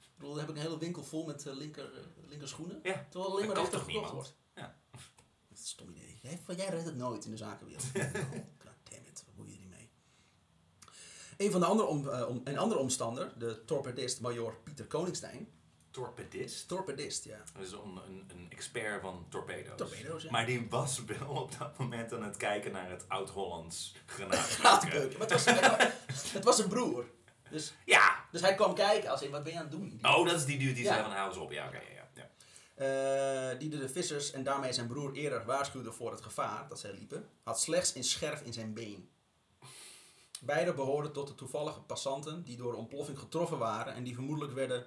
Speaker 2: Ik bedoel, dan heb ik een hele winkel vol met eh, linker, eh, linkerschoenen.
Speaker 1: Ja,
Speaker 2: Terwijl alleen
Speaker 1: dat
Speaker 2: maar
Speaker 1: kan
Speaker 2: rechter
Speaker 1: toch niemand?
Speaker 2: gekocht wordt.
Speaker 1: Ja.
Speaker 2: Dat is een stom idee. Jij, jij redt het nooit in de zakenwereld. God damn it, wat boeien jullie mee? Een van de andere, om, eh, om- een andere omstander, de torpedist major Pieter Koningstein.
Speaker 1: Torpedist?
Speaker 2: Torpedist, ja.
Speaker 1: Dat is een, een, een expert van torpedo's.
Speaker 2: Torpedo's, ja.
Speaker 1: Maar die was wel op dat moment aan het kijken naar het Oud-Hollands granaatbeuken.
Speaker 2: Straatbeuken. Maar het was, het was een broer. Dus,
Speaker 1: Ja!
Speaker 2: dus hij kwam kijken als in, wat ben je aan het doen? Die, eh,
Speaker 1: Oh, dat is die dude die
Speaker 2: Ja.
Speaker 1: zei van hou eens op. Ja, oké, ja, ja, ja.
Speaker 2: Eh, die de vissers en daarmee zijn broer eerder waarschuwde voor het gevaar dat zij liepen, had slechts een scherf in zijn been. Beide behoorden tot de toevallige passanten die door de ontploffing getroffen waren en die vermoedelijk, werden,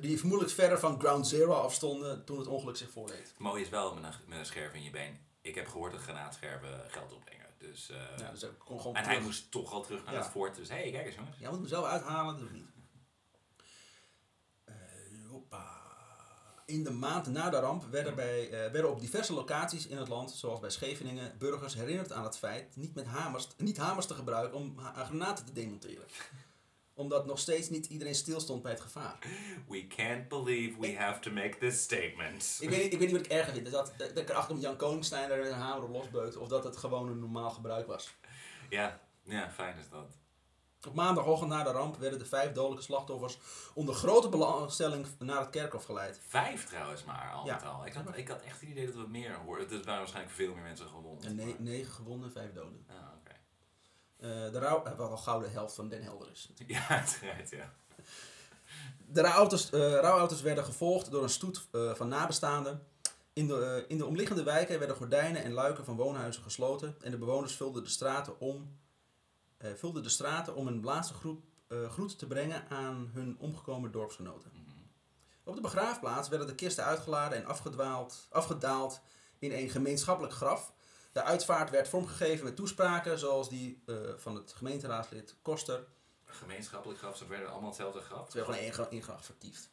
Speaker 2: die vermoedelijk verder van Ground Zero afstonden toen het ongeluk zich voordeed.
Speaker 1: Het mooie is wel met een, met een scherf in je been. Ik heb gehoord dat granaatscherven geld opbrengen. Dus, eh,
Speaker 2: Ja, dus hij kon gewoon
Speaker 1: en hij
Speaker 2: terug.
Speaker 1: moest toch al terug naar
Speaker 2: Ja.
Speaker 1: het fort. Dus hé, hey, kijk eens jongens.
Speaker 2: Jij moet hem zelf uithalen, dat doe ik niet. Eh, hoppa. In de maand na de ramp werden, bij, eh, werden op diverse locaties in het land, zoals bij Scheveningen, burgers herinnerd aan het feit niet, met hamers, niet hamers te gebruiken om ha- granaten te demonteren. Omdat nog steeds niet iedereen stilstond bij het gevaar.
Speaker 1: We can't believe we have to make this statement.
Speaker 2: Ik weet, niet- ik weet niet wat ik erger vind. Is dat, eh, dat ik erachter om Jan Koningstein er met een hamer op losbeukte of dat het gewoon een normaal gebruik was.
Speaker 1: Ja, ja fijn is dat.
Speaker 2: Op maandagochtend na de ramp werden de vijf dodelijke slachtoffers onder grote belangstelling naar het kerkhof geleid.
Speaker 1: Vijf trouwens maar al
Speaker 2: Ja.
Speaker 1: met al. Ik had, ik had echt het idee dat we meer hoorden. Er waren waarschijnlijk veel meer mensen gewond.
Speaker 2: En ne-
Speaker 1: maar-
Speaker 2: negen gewonden, vijf doden.
Speaker 1: Ah, oké.
Speaker 2: Eh, de rouw, eh, wat al gauw de helft van Den Helder is.
Speaker 1: Ja, uiteraard, ja.
Speaker 2: De rouwauto's, eh, rouwauto's werden gevolgd door een stoet eh, van nabestaanden. In de, eh, in de omliggende wijken werden gordijnen en luiken van woonhuizen gesloten. En de bewoners vulden de straten om, eh, vulden de straten om een laatste groep, eh, groet te brengen aan hun omgekomen dorpsgenoten.
Speaker 1: Mhm.
Speaker 2: Op de begraafplaats werden de kisten uitgeladen en afgedwaald, afgedaald in een gemeenschappelijk graf. De uitvaart werd vormgegeven met toespraken zoals die eh, van het gemeenteraadslid Koster.
Speaker 1: Gemeenschappelijk graf, ze werden allemaal hetzelfde graf.
Speaker 2: Het werd gewoon één gra- één graf vertiefd.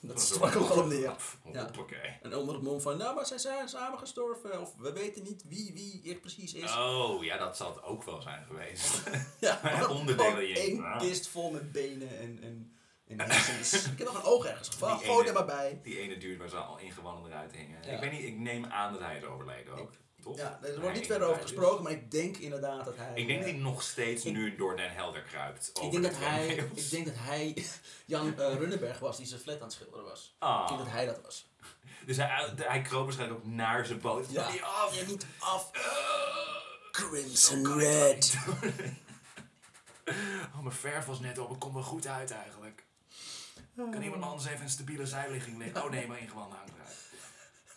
Speaker 2: Dat
Speaker 1: is
Speaker 2: sprak ook al op neer. Ja.
Speaker 1: Hoppakee.
Speaker 2: En onder het mom van, nou maar zij zijn samen gestorven. Of we weten niet wie wie echt precies is.
Speaker 1: Oh, ja, dat zal het ook wel zijn geweest.
Speaker 2: ja,
Speaker 1: maar
Speaker 2: gewoon
Speaker 1: onderdelen je-
Speaker 2: één
Speaker 1: Ah.
Speaker 2: kist vol met benen en, en, en hersens. Ik heb nog een oog ergens gevangen.
Speaker 1: Die
Speaker 2: Gooi
Speaker 1: ene-
Speaker 2: er maar bij.
Speaker 1: Die ene duurt waar ze al ingewanden eruit hingen.
Speaker 2: Ja.
Speaker 1: Ik weet niet, ik neem aan dat hij is overleden ook. toch?
Speaker 2: Ja, er
Speaker 1: Hij
Speaker 2: wordt niet verder over
Speaker 1: is.
Speaker 2: gesproken, maar ik denk inderdaad dat hij...
Speaker 1: Ik denk dat hij nog steeds
Speaker 2: Ik-
Speaker 1: nu door Den Helder kruipt.
Speaker 2: Ik
Speaker 1: over
Speaker 2: denk
Speaker 1: de
Speaker 2: dat hij,
Speaker 1: Grendel's.
Speaker 2: ik denk dat hij Jan eh, Runneberg was die zijn flat aan het schilderen was.
Speaker 1: Ah.
Speaker 2: Ik denk dat hij dat was.
Speaker 1: Dus hij, hij kroop waarschijnlijk ook naar zijn boot.
Speaker 2: Ja.
Speaker 1: Die "Oh, af. Eh,
Speaker 2: Ja, niet af.
Speaker 1: Zo kan
Speaker 2: Crimson
Speaker 1: ik
Speaker 2: Red.
Speaker 1: Oh, mijn verf was net op. Ik kom er goed uit eigenlijk.
Speaker 2: Ah.
Speaker 1: Kan iemand anders even een stabiele zijligging leggen? Oh nee, maar ingewanden hangt eruit.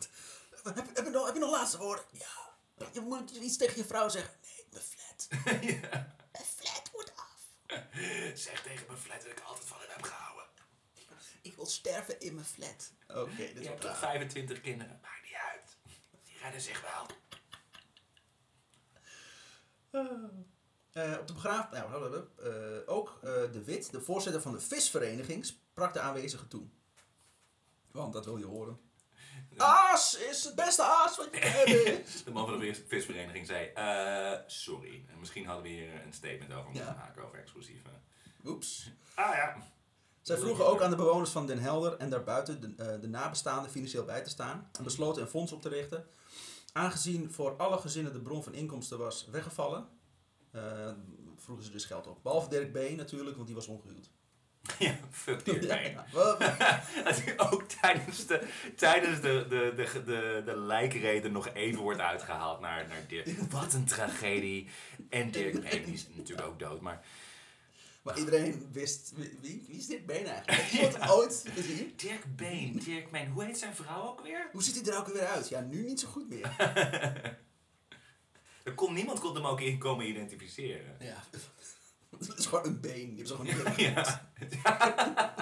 Speaker 2: Heb, heb, je nog, heb je nog laatste woorden? Ja. Je moet iets tegen je vrouw zeggen. Nee, mijn flat.
Speaker 1: Ja.
Speaker 2: Mijn flat moet af.
Speaker 1: Zeg tegen mijn flat dat ik altijd van hem heb gehouden.
Speaker 2: Ik wil sterven in mijn flat. Oké, dit
Speaker 1: Je
Speaker 2: is
Speaker 1: hebt
Speaker 2: wel
Speaker 1: toch
Speaker 2: raar.
Speaker 1: 25 kinderen? Maakt niet uit. Die redden zich wel.
Speaker 2: Eh, op de begraaf... Nou, eh, ook eh, de Wit, de voorzitter van de visvereniging, sprak de aanwezigen toe. Want dat wil je horen. Aas is het beste aas wat je kan hebben.
Speaker 1: De man van de visvereniging zei, eh, sorry. En misschien hadden we hier een statement over moeten
Speaker 2: Ja.
Speaker 1: maken over exclusieven.
Speaker 2: Oeps.
Speaker 1: Ah ja.
Speaker 2: Zij vroegen ook aan de bewoners van Den Helder en daarbuiten de, eh, de nabestaanden financieel bij te staan en besloten een fonds op te richten. Aangezien voor alle gezinnen de bron van inkomsten was weggevallen, eh, vroegen ze dus geld op. Behalve Dirk B. natuurlijk, want die was ongehuwd.
Speaker 1: Ja, fuck die
Speaker 2: Ja,
Speaker 1: erbij.
Speaker 2: ja. Wel,
Speaker 1: Dat ook tijdens, de, tijdens de, de, de, de, de lijkreden nog even wordt uitgehaald naar, naar Dirk. Wat een tragedie. En Dirk, nee, die is natuurlijk ook dood, maar...
Speaker 2: Maar iedereen wist, wie, wie wie is Dirk B. nou eigenlijk? Heeft iemand hem ooit gezien?
Speaker 1: Dirk Been, Dirk Been, hoe heet zijn vrouw ook weer?
Speaker 2: Hoe ziet hij er ook weer uit? Ja, nu niet zo goed meer.
Speaker 1: Er kon, niemand kon hem ook in komen identificeren.
Speaker 2: Ja. Het is gewoon een been. Die hebben ze gewoon niet meer.
Speaker 1: Ja.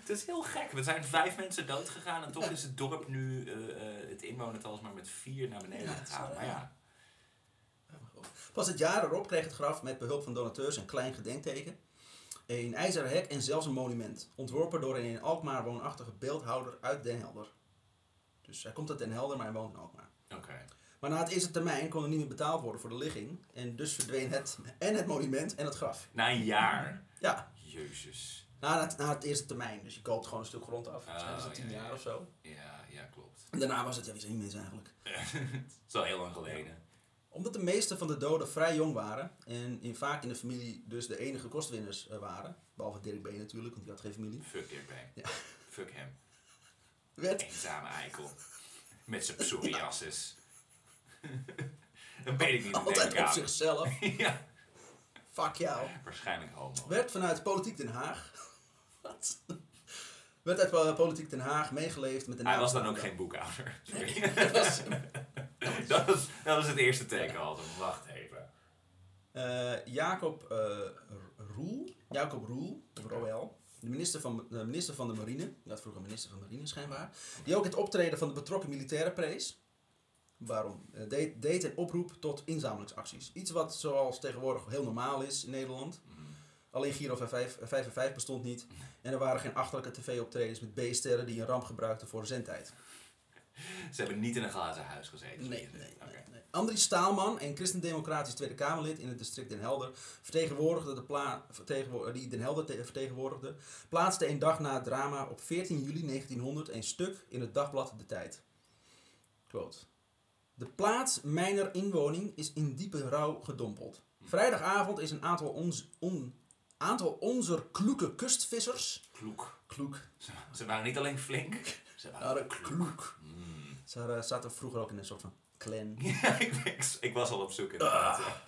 Speaker 1: het is heel gek. Er zijn vijf mensen dood gegaan en toch is het dorp nu eh, eh, het inwonertal is maar met vier naar beneden
Speaker 2: Ja, dat is
Speaker 1: gegaan.
Speaker 2: wel,
Speaker 1: Maar ja.
Speaker 2: Pas het jaar erop kreeg het graf met behulp van donateurs een klein gedenkteken, een ijzeren hek en zelfs een monument. Ontworpen door een in Alkmaar woonachtige beeldhouder uit Den Helder. Dus hij komt uit Den Helder, maar hij woont in Alkmaar.
Speaker 1: Oké.
Speaker 2: Maar na het eerste termijn kon er niet meer betaald worden voor de ligging. En dus verdween het en het monument en het graf.
Speaker 1: Na een jaar.
Speaker 2: Ja,
Speaker 1: Jezus.
Speaker 2: na het, na het eerste termijn. Dus je koopt gewoon een stuk grond af. Waarschijnlijk is dat
Speaker 1: Ah, ja,
Speaker 2: tien
Speaker 1: ja,
Speaker 2: jaar
Speaker 1: ja.
Speaker 2: of zo.
Speaker 1: Ja, ja, klopt.
Speaker 2: En daarna was het, ja, wie zijn die mensen eigenlijk?
Speaker 1: Het is al heel lang geleden.
Speaker 2: Omdat de meeste van de doden vrij jong waren en in, vaak in de familie dus de enige kostwinners eh, waren, behalve Dirk B natuurlijk, want die had geen familie,
Speaker 1: Fuck Dirk Been.
Speaker 2: Ja.
Speaker 1: Fuck hem.
Speaker 2: werd,
Speaker 1: Eenzame eikel. Met zijn psoriasis. Dan weet ik niet. dat neem
Speaker 2: altijd
Speaker 1: ik
Speaker 2: op
Speaker 1: aan.
Speaker 2: zichzelf,
Speaker 1: Ja,
Speaker 2: fuck jou,
Speaker 1: waarschijnlijk homo.
Speaker 2: werd vanuit Politiek Den Haag, wat? Werd uit eh, Politiek Den Haag meegeleefd met de
Speaker 1: Hij was dan ook
Speaker 2: nabestaanden.
Speaker 1: geen boekhouder. Sorry.
Speaker 2: Dat was-
Speaker 1: dat, was, dat was het eerste teken al. Dan Wacht even.
Speaker 2: Eh, Jacob eh, R- Roel, Jacob Roel, of Roel, de minister van, de minister van de Marine, dat vroeger minister van de Marine schijnbaar, die ook het optreden van de betrokken militairen prees. Waarom? Eh, deed, deed een oproep tot inzamelingsacties. Iets wat zoals tegenwoordig heel normaal is in Nederland. Alleen Giro 5 en 5 bestond niet. En er waren geen achterlijke tv-optredens met B-sterren die een ramp gebruikten voor zendtijd.
Speaker 1: Ze hebben niet in een glazen huis gezeten.
Speaker 2: Nee, nee, nee,
Speaker 1: Oké.
Speaker 2: nee. Andries Staalman, een christendemocratisch Tweede Kamerlid in het district Den Helder, vertegenwoordigde de pla vertegenwo- die Den Helder te- vertegenwoordigde, plaatste een dag na het drama op 14 juli 1900 een stuk in het dagblad De Tijd. Quote. De plaats mijner inwoning is in diepe rouw gedompeld. Vrijdagavond is een aantal, ons on aantal onzer kloeke kustvissers...
Speaker 1: Kloek.
Speaker 2: Kloek.
Speaker 1: Ze, ze waren niet alleen flink. Ze waren
Speaker 2: Hadden
Speaker 1: ook kloek.
Speaker 2: kloek.
Speaker 1: Mm.
Speaker 2: Ze hadden- zaten vroeger ook in een soort van clan.
Speaker 1: Ja, ik, ik, ik was al op zoek inderdaad. ja.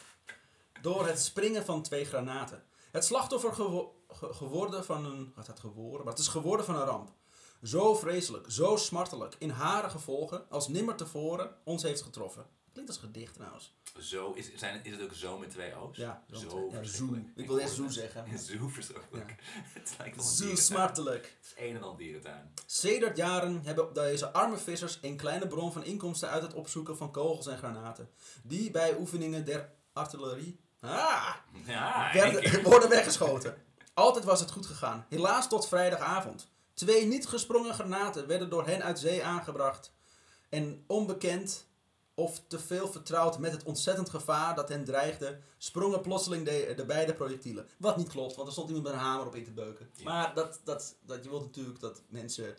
Speaker 2: door het springen van twee granaten. Het slachtoffer gewo- ge- geworden van een. Wat had geworden? Maar het is geworden van een ramp. Zo vreselijk, zo smartelijk, in hare gevolgen, als nimmer tevoren ons heeft getroffen. Klinkt als een gedicht trouwens.
Speaker 1: Zo is, zijn, is het ook zo met twee O's?
Speaker 2: Ja, zo met twee-
Speaker 1: zo.
Speaker 2: ja,
Speaker 1: verschrikkelijk.
Speaker 2: zo. Ik wil eerst
Speaker 1: hoor
Speaker 2: zo
Speaker 1: het.
Speaker 2: zeggen.
Speaker 1: Zo verschrikkelijk. Het lijkt wel een
Speaker 2: Zo
Speaker 1: dierentuin.
Speaker 2: smartelijk.
Speaker 1: Het is een en al dierentuin.
Speaker 2: Sedert jaren hebben deze arme vissers een kleine bron van inkomsten uit het opzoeken van kogels en granaten. Die bij oefeningen der artillerie. Ah!
Speaker 1: Ja, in één keer.
Speaker 2: werden, worden weggeschoten. Altijd was het goed gegaan. Helaas tot vrijdagavond. Twee niet gesprongen granaten werden door hen uit zee aangebracht. En onbekend of te veel vertrouwd met het ontzettend gevaar dat hen dreigde, sprongen plotseling de, de beide projectielen. Wat niet klopt, want er stond iemand met een hamer op in te beuken.
Speaker 1: Ja.
Speaker 2: Maar dat, dat, dat, je wilt natuurlijk dat mensen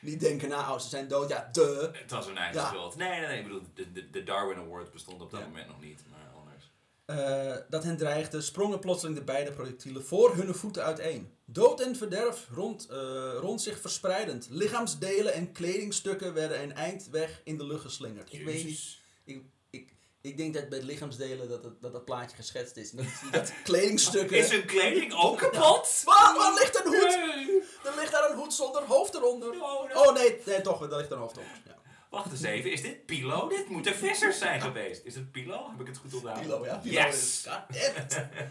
Speaker 2: niet denken, nou, oh, ze zijn dood, ja, duh.
Speaker 1: Het was hun eigen
Speaker 2: Ja.
Speaker 1: schuld. Nee, nee, nee. Ik bedoel, de, de, de Darwin Award bestond op dat
Speaker 2: Ja.
Speaker 1: moment nog niet, maar anders.
Speaker 2: eh, dat hen dreigde, sprongen plotseling de beide projectielen voor hun voeten uiteen. Dood en verderf rond, eh, rond zich verspreidend. Lichaamsdelen en kledingstukken werden een eind weg in de lucht geslingerd. Ik weet niet.
Speaker 1: Jezus.
Speaker 2: Ik, ik, ik, Ik denk dat bij de lichaamsdelen dat het- dat, dat plaatje geschetst is. Dat, dat kledingstukken...
Speaker 1: Is hun kleding ook kapot?
Speaker 2: Waar, waar ligt een hoed?
Speaker 1: Nee.
Speaker 2: Er ligt daar een hoed zonder hoofd eronder.
Speaker 1: Oh, no.
Speaker 2: Oh nee, nee toch, daar ligt een hoofd onder. Ja.
Speaker 1: Wacht eens even, is dit Pilo? Dit moeten vissers zijn geweest. Is het Pilo? Heb ik het goed onthouden?
Speaker 2: Pilo, ja. Pilo
Speaker 1: Yes!
Speaker 2: is- God damn it.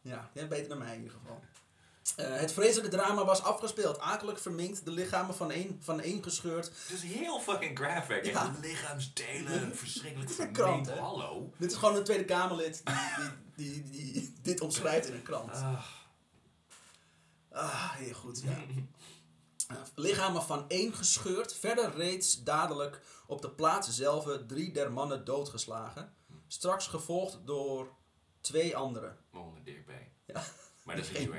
Speaker 2: Ja, jij beter dan mij in ieder geval. Eh, het vreselijke drama was afgespeeld. Akelijk verminkt, de lichamen van één, van één gescheurd.
Speaker 1: Het is Dus heel fucking graphic.
Speaker 2: Ja.
Speaker 1: En lichaamsdelen, verschrikkelijk
Speaker 2: Het is een krant,
Speaker 1: verminkt.
Speaker 2: hè?
Speaker 1: Hallo.
Speaker 2: Dit is gewoon een Tweede Kamerlid die, die, die, die dit omschrijft in een krant.
Speaker 1: Ah,
Speaker 2: Ah, heel goed, ja. Eh, Lichamen van één gescheurd, verder reeds dadelijk op de plaats zelf drie der mannen doodgeslagen. Straks gevolgd door twee anderen.
Speaker 1: Waaronder Dirk bij.
Speaker 2: Ja.
Speaker 1: Maar dat is niet zo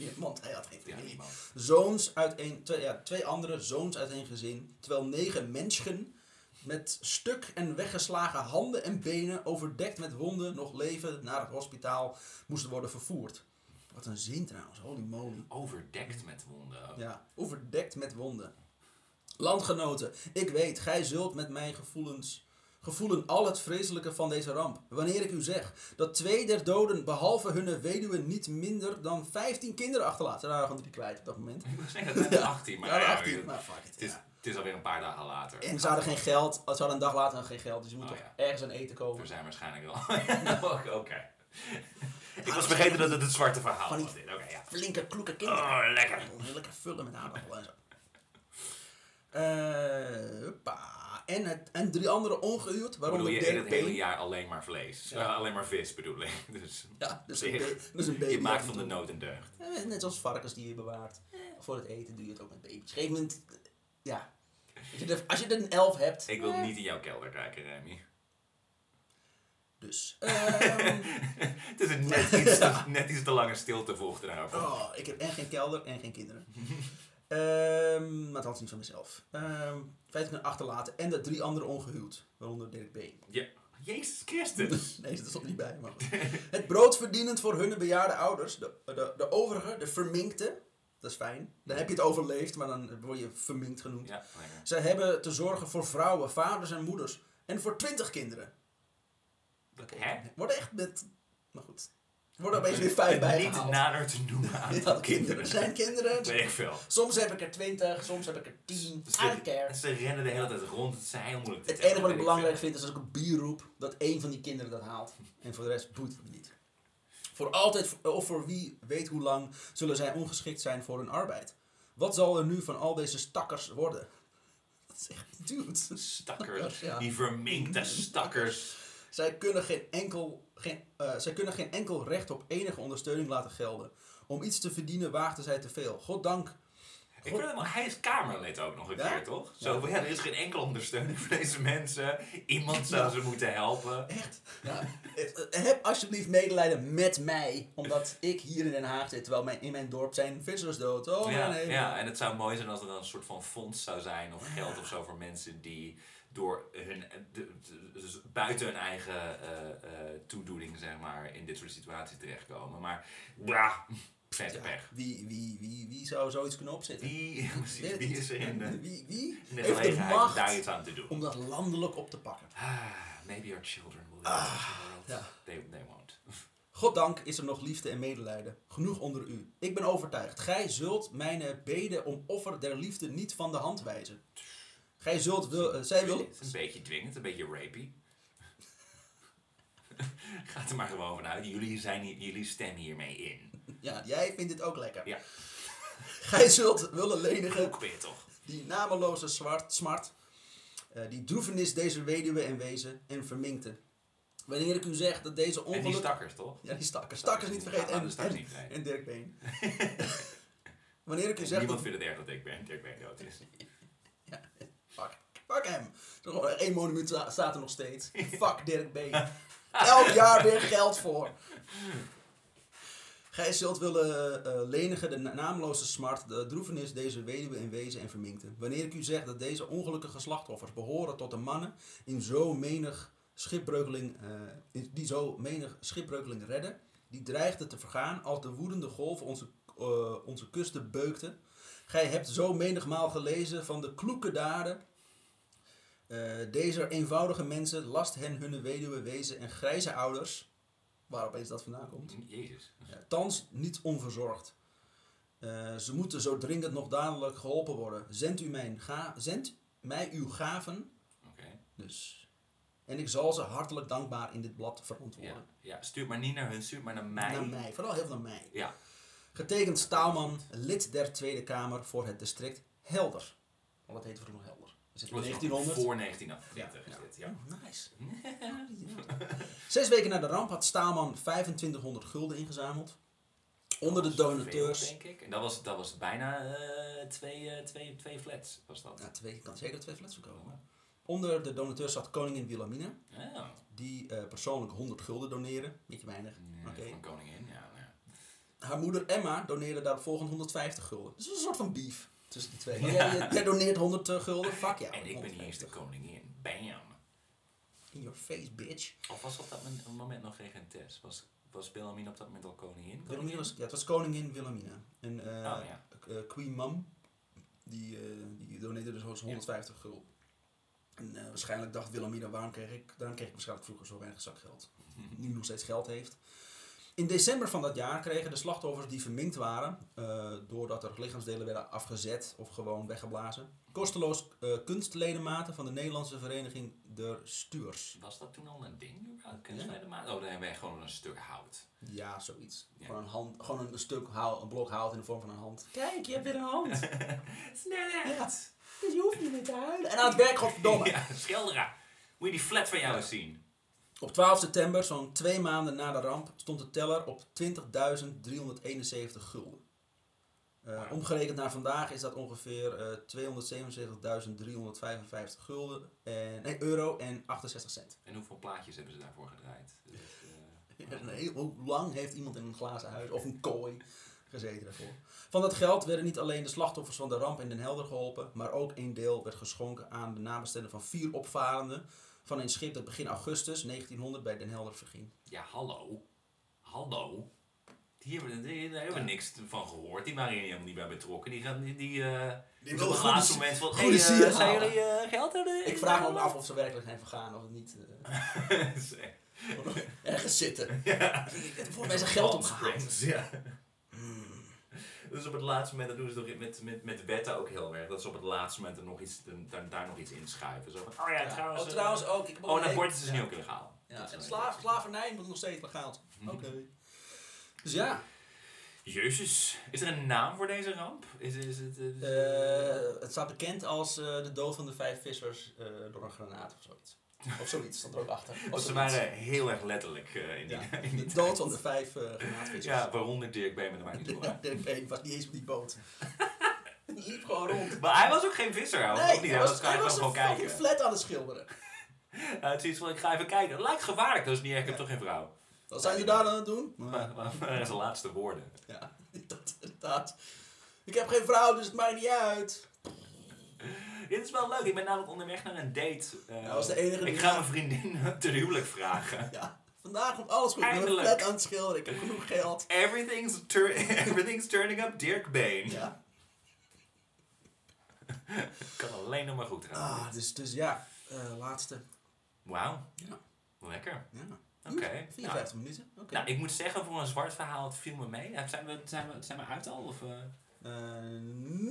Speaker 1: erg.
Speaker 2: Want hij had geen
Speaker 1: Ja,
Speaker 2: familie.
Speaker 1: niemand.
Speaker 2: zoons uit een, twee, ja, twee andere zoons uit een gezin, terwijl negen mensen met stuk en weggeslagen handen en benen, overdekt met wonden, nog leven naar het hospitaal moesten worden vervoerd. Wat een zin trouwens, holy moly.
Speaker 1: Overdekt met wonden.
Speaker 2: Ja, overdekt met wonden. Landgenoten, ik weet, gij zult met mijn gevoelens gevoelen al het vreselijke van deze ramp. Wanneer ik u zeg dat twee der doden, behalve hun weduwen, niet minder dan 15 kinderen achterlaten. Ze waren gewoon drie kwijt op dat moment.
Speaker 1: Ik moet zeggen, het is 18, maar
Speaker 2: Ja, de
Speaker 1: ja,
Speaker 2: 18,
Speaker 1: het-
Speaker 2: maar fuck it,
Speaker 1: het, is,
Speaker 2: ja.
Speaker 1: het is alweer een paar dagen later.
Speaker 2: En ze hadden geen geld, ze hadden een dag later nog geen geld, dus je moet
Speaker 1: Oh,
Speaker 2: toch
Speaker 1: ja. Dus-
Speaker 2: ergens aan eten komen.
Speaker 1: We zijn waarschijnlijk wel. Oké. Ik was vergeten dat het het zwarte verhaal
Speaker 2: Van die-
Speaker 1: was. dit. Oké, ja.
Speaker 2: Flinke, kloeke kinderen.
Speaker 1: Oh, lekker.
Speaker 2: Lekker vullen met aardappelen en zo. Eh, huppa. En, het, en drie andere ongehuwd,
Speaker 1: Ik bedoel,
Speaker 2: waaronder
Speaker 1: je eet het
Speaker 2: DP.
Speaker 1: hele jaar alleen maar vlees.
Speaker 2: Ja.
Speaker 1: Eh, alleen maar vis bedoel ik. Dus
Speaker 2: Ja, dat is
Speaker 1: Zeg,
Speaker 2: een, ba- dat is een baby.
Speaker 1: je maakt van de nood een deugd.
Speaker 2: Eh, Net zoals varkens die je bewaart. Voor het eten doe je het ook met baby's. Op een gegeven moment, eh, ja. Als je er, als je er een elf hebt.
Speaker 1: Ik wil
Speaker 2: eh,
Speaker 1: niet in jouw kelder kijken, Remy.
Speaker 2: Dus. ehm,
Speaker 1: Het is een net iets, net iets te lange stilte volgt daarover.
Speaker 2: Oh, ik heb en geen kelder en geen kinderen. Ehm, maar het had niet van mezelf. Ehm vijf kunnen achterlaten en de drie anderen ongehuwd, waaronder Dirk B.
Speaker 1: Ja. Jezus Christus.
Speaker 2: Nee, dat stond er niet bij. Maar goed. Het brood verdienend voor hun bejaarde ouders, de, de, de overige, de verminkte, dat is fijn. Dan heb je het overleefd, maar dan word je verminkt genoemd.
Speaker 1: Ja, lekker.
Speaker 2: Zij hebben te zorgen voor vrouwen, vaders en moeders en voor twintig kinderen.
Speaker 1: Dat, hè?
Speaker 2: Worden echt met, maar goed, worden opeens weer vijf bijgehaald.
Speaker 1: Niet nader te noemen aan
Speaker 2: Dit hadden kinderen. Zijn kinderen,
Speaker 1: Weet ik veel.
Speaker 2: Soms heb ik er 20, soms heb ik er 10. I don't care.
Speaker 1: Ze rennen de hele tijd rond. Het is heel moeilijk te
Speaker 2: Het
Speaker 1: tellen,
Speaker 2: enige wat ik
Speaker 1: weet
Speaker 2: belangrijk vind is als ik een bier roep, dat één van die kinderen dat haalt. En voor de rest boeit het me niet. Voor altijd, of voor wie weet hoe lang, zullen zij ongeschikt zijn voor hun arbeid. Wat zal er nu van al deze stakkers worden? Dat is echt dude.
Speaker 1: veel. Stakkers. Mhm.
Speaker 2: Ja.
Speaker 1: Die verminkte stakkers.
Speaker 2: Zij kunnen geen enkel, geen, eh, zij kunnen geen enkel recht op enige ondersteuning laten gelden. Om iets te verdienen waagden zij te veel. Goddank.
Speaker 1: Ik vind hem, wel- hij is Kamerlid ook nog een
Speaker 2: Ja?
Speaker 1: keer, toch? Zo, ja, er is geen enkele ondersteuning voor deze mensen. Iemand zou
Speaker 2: Ja.
Speaker 1: ze moeten helpen.
Speaker 2: Echt? Ja. Eh, Heb alsjeblieft medelijden met mij. Omdat ik hier in Den Haag zit, terwijl mijn, in mijn dorp zijn vissers dood. Oh
Speaker 1: ja,
Speaker 2: nee.
Speaker 1: ja, en het zou mooi zijn als er dan een soort van fonds zou zijn of geld of zo voor mensen die door hun, de- de- dus buiten hun eigen eh, eh, toedoening, zeg maar, in dit soort situaties terechtkomen. Maar, bla, vet
Speaker 2: Ja,
Speaker 1: pech.
Speaker 2: Wie, wie, wie, wie zou zoiets kunnen opzetten?
Speaker 1: Wie,
Speaker 2: Ik weet het
Speaker 1: wie
Speaker 2: niet.
Speaker 1: is er in de,
Speaker 2: wie, wie
Speaker 1: in de
Speaker 2: heeft de
Speaker 1: gelegenheid om daar
Speaker 2: macht
Speaker 1: iets aan te doen?
Speaker 2: om dat landelijk op te pakken?
Speaker 1: Ah, maybe our children will live in such a world.
Speaker 2: Ah, ja.
Speaker 1: They, they won't.
Speaker 2: Goddank is er nog liefde en medelijden. Genoeg onder u. Ik ben overtuigd. Gij zult mijn beden om offer der liefde niet van de hand wijzen. Gij zult... Wil, eh, zij wil...
Speaker 1: Het is een beetje dwingend, een beetje rapey. Gaat er maar gewoon vanuit. Jullie, zijn, hier- jullie stemmen hiermee in.
Speaker 2: Ja, jij vindt dit ook lekker.
Speaker 1: Ja.
Speaker 2: Gij zult willen lenigen
Speaker 1: Ook weer toch?
Speaker 2: die nameloze zwart, smart, eh, die droevenis deze weduwe en wezen en verminkte. Wanneer ik u zeg dat deze
Speaker 1: En die
Speaker 2: ongeluk...
Speaker 1: stakkers toch?
Speaker 2: ja, die stakkers. Stakkers niet vergeten.
Speaker 1: Ja,
Speaker 2: En,
Speaker 1: de stakkers
Speaker 2: en,
Speaker 1: niet, nee.
Speaker 2: en Dirk Been. Wanneer ik u zeg
Speaker 1: Niemand
Speaker 2: dat...
Speaker 1: vindt het erg dat ik ben, Dirk Been dood is.
Speaker 2: Fuck, fuck hem. Er is gewoon één monument sta- staat er nog steeds. Fuck Dirk Been. Elk jaar weer geld voor. Gij zult willen eh, lenigen de na- naamloze smart, de droevenis deze weduwe in wezen en verminkte. Wanneer ik u zeg dat deze ongelukkige slachtoffers behoren tot de mannen in zo menig schipbreukeling, eh, in- die zo menig schipbreukeling redden, die dreigden te vergaan als de woedende golven onze, eh, onze kusten beukten. Gij hebt zo menigmaal gelezen van de kloeke daden Eh, deze eenvoudige mensen last hen hun weduwe, wezen en grijze ouders, waar opeens dat vandaan komt,
Speaker 1: Jezus.
Speaker 2: eh, thans niet onverzorgd. Eh, ze moeten zo dringend nog dadelijk geholpen worden. Zend, u mijn ga zend mij uw gaven,
Speaker 1: Oké.
Speaker 2: dus. En ik zal ze hartelijk dankbaar in dit blad
Speaker 1: Ja.
Speaker 2: verantwoorden.
Speaker 1: ja, stuur maar niet naar hun, stuur maar naar mij.
Speaker 2: Naar mij, vooral heel veel naar mij.
Speaker 1: Ja.
Speaker 2: Getekend Staalman, lid der Tweede Kamer voor het district Helder. Want dat heette vroeger Helder. Is het
Speaker 1: Dat is nog
Speaker 2: 1900?
Speaker 1: Voor 1938
Speaker 2: Ja.
Speaker 1: is dit, ja.
Speaker 2: Oh, nice. Zes weken na de ramp had Staalman 2500 gulden ingezameld. Onder de
Speaker 1: Dat was veel,
Speaker 2: donateurs.
Speaker 1: Denk ik. En dat was, dat was bijna eh, twee, eh, twee, twee flats, was dat.
Speaker 2: Ja, twee, ik kan zeker twee flats verkopen. Onder de donateurs zat koningin Wilhelmina,
Speaker 1: Oh.
Speaker 2: die eh, persoonlijk 100 gulden doneren. Beetje weinig.
Speaker 1: Nee,
Speaker 2: Oké.
Speaker 1: Van koningin, ja. nou ja.
Speaker 2: Haar moeder Emma doneerde daaropvolgend 150 gulden. Dus het is een soort van beef tussen die twee. Maar
Speaker 1: Ja.
Speaker 2: jij, jij doneert 100 gulden, fuck jou.
Speaker 1: en ik ben niet eens de
Speaker 2: 150.
Speaker 1: koningin. Bam.
Speaker 2: In your face, bitch.
Speaker 1: Of was op dat men- moment nog regentes? Was, was Wilhelmina op dat moment al koningin?
Speaker 2: Wilhelmina was, ja, het was koningin Wilhelmina. En eh,
Speaker 1: Oh, ja.
Speaker 2: eh, Queen Mum, die, eh, die doneerde dus 150 gulden. En eh, waarschijnlijk dacht Wilhelmina, waarom kreeg ik, daarom kreeg ik waarschijnlijk vroeger zo weinig zakgeld. Nu nog steeds geld heeft. In december van dat jaar kregen de slachtoffers die verminkt waren, eh, doordat er lichaamsdelen werden afgezet of gewoon weggeblazen, kosteloos eh, kunstledematen van de Nederlandse vereniging De Stuurs.
Speaker 1: Was dat toen al een ding? überhaupt? Kunnen
Speaker 2: Ja.
Speaker 1: wij de ma- Oh, dan hebben wij gewoon een stuk hout.
Speaker 2: Ja, zoiets.
Speaker 1: Ja.
Speaker 2: Gewoon, een hand, gewoon een stuk hout, een blok hout in de vorm van een hand. Kijk, je hebt weer een hand.
Speaker 1: Sneller!
Speaker 2: Ja. Dus je hoeft niet meer te huilen. En aan het werk, godverdomme.
Speaker 1: Ja, schildera. Moet je die flat van jou eens zien?
Speaker 2: Op 12 september, zo'n twee maanden na de ramp, stond de teller op 20.371 gulden. Eh,
Speaker 1: Wauw.
Speaker 2: Omgerekend naar vandaag is dat ongeveer eh 277.355 gulden en, nee, euro en 68 cent.
Speaker 1: En hoeveel plaatjes hebben ze daarvoor gedraaid? Dat is, eh,
Speaker 2: Nee, hoe lang heeft iemand in een glazen huis of een kooi gezeten daarvoor? Van dat geld werden niet alleen de slachtoffers van de ramp in Den Helder geholpen, maar ook een deel werd geschonken aan de nabestaanden van vier opvarenden van een schip dat begin augustus 1900 bij Den Helder verging.
Speaker 1: Ja, hallo. Hallo. Die hebben, die- daar hebben we niks van gehoord. Die waren hier helemaal niet bij betrokken. Die gaan die. die eh
Speaker 2: Die
Speaker 1: op
Speaker 2: wil
Speaker 1: het
Speaker 2: goede
Speaker 1: laatste
Speaker 2: si-
Speaker 1: moment van.
Speaker 2: goede
Speaker 1: Hey, eh,
Speaker 2: sier
Speaker 1: zijn
Speaker 2: halen.
Speaker 1: jullie eh, geld hebben?
Speaker 2: Ik vraag me ook af of ze werkelijk zijn vergaan of het niet eh, ergens zitten. Voor mij zijn geld Hmm. opgehaald.
Speaker 1: Ja. Dus op het laatste moment, dat doen ze toch met, met, met wetten ook heel erg. Dat ze op het laatste moment er nog iets, dan- daar, daar nog iets in schuiven. Zo van, oh ja, trouwens.
Speaker 2: oh,
Speaker 1: eh,
Speaker 2: trouwens ook. Ik heb ook
Speaker 1: Oh,
Speaker 2: een
Speaker 1: en abortus
Speaker 2: hele-
Speaker 1: is
Speaker 2: ja.
Speaker 1: nu ook illegaal. Dat eh,
Speaker 2: Ja,
Speaker 1: is
Speaker 2: en
Speaker 1: wel
Speaker 2: slaaf,
Speaker 1: interessant.
Speaker 2: slavernij moet nog steeds legaal. Oké. Dus ja.
Speaker 1: Jezus, is er een naam voor deze ramp? Is, is het... is-
Speaker 2: Eh, het staat bekend als eh, de dood van de vijf vissers eh, door een granaat of zoiets. Of zoiets, stond er ook achter. Of
Speaker 1: Want Oh, ze
Speaker 2: zoiets.
Speaker 1: waren heel erg letterlijk eh, in die,
Speaker 2: Ja,
Speaker 1: in die
Speaker 2: de
Speaker 1: tijd.
Speaker 2: dood van de vijf eh granaatvissers.
Speaker 1: Ja, waaronder Dirk Beeman, dat maakt niet
Speaker 2: Ja,
Speaker 1: door.
Speaker 2: Dirk Been was niet eens op die boot. Die liep gewoon rond.
Speaker 1: Maar hij was ook geen visser, hoor.
Speaker 2: Nee,
Speaker 1: Ook niet,
Speaker 2: hij was,
Speaker 1: hij
Speaker 2: hij was
Speaker 1: gewoon
Speaker 2: een
Speaker 1: kijken.
Speaker 2: fucking flat aan het schilderen.
Speaker 1: Hij had zoiets van, ik ga even kijken. Het lijkt gevaarlijk, dat is niet erg, ik heb toch geen vrouw.
Speaker 2: Wat zijn jullie daar aan het doen?
Speaker 1: Maar, maar, maar dat zijn laatste woorden.
Speaker 2: Ja, dat inderdaad. Ik heb geen vrouw, dus het maakt niet uit.
Speaker 1: Dit is wel leuk, ik ben namelijk onderweg naar een date. Eh,
Speaker 2: Hij was Nou, de enige die-
Speaker 1: ik ga mijn vriendin ten huwelijk vragen.
Speaker 2: Ja, vandaag komt alles goed. Ik ben een
Speaker 1: Eindelijk.
Speaker 2: flat aan het schilderen, ik heb genoeg geld.
Speaker 1: Everything's, tur- everything's turning up Dirk Been.
Speaker 2: Ja.
Speaker 1: Kan alleen nog maar goed gaan.
Speaker 2: Ah, dus, dus ja, eh, laatste.
Speaker 1: Wauw,
Speaker 2: Ja.
Speaker 1: lekker.
Speaker 2: Ja.
Speaker 1: Oké. Nou,
Speaker 2: 54 minuten. Oké.
Speaker 1: Nou, ik moet zeggen, voor een zwart verhaal, het viel me mee. Ja, Zijn we, zijn we, zijn we uit al? Of, eh?
Speaker 2: Eh,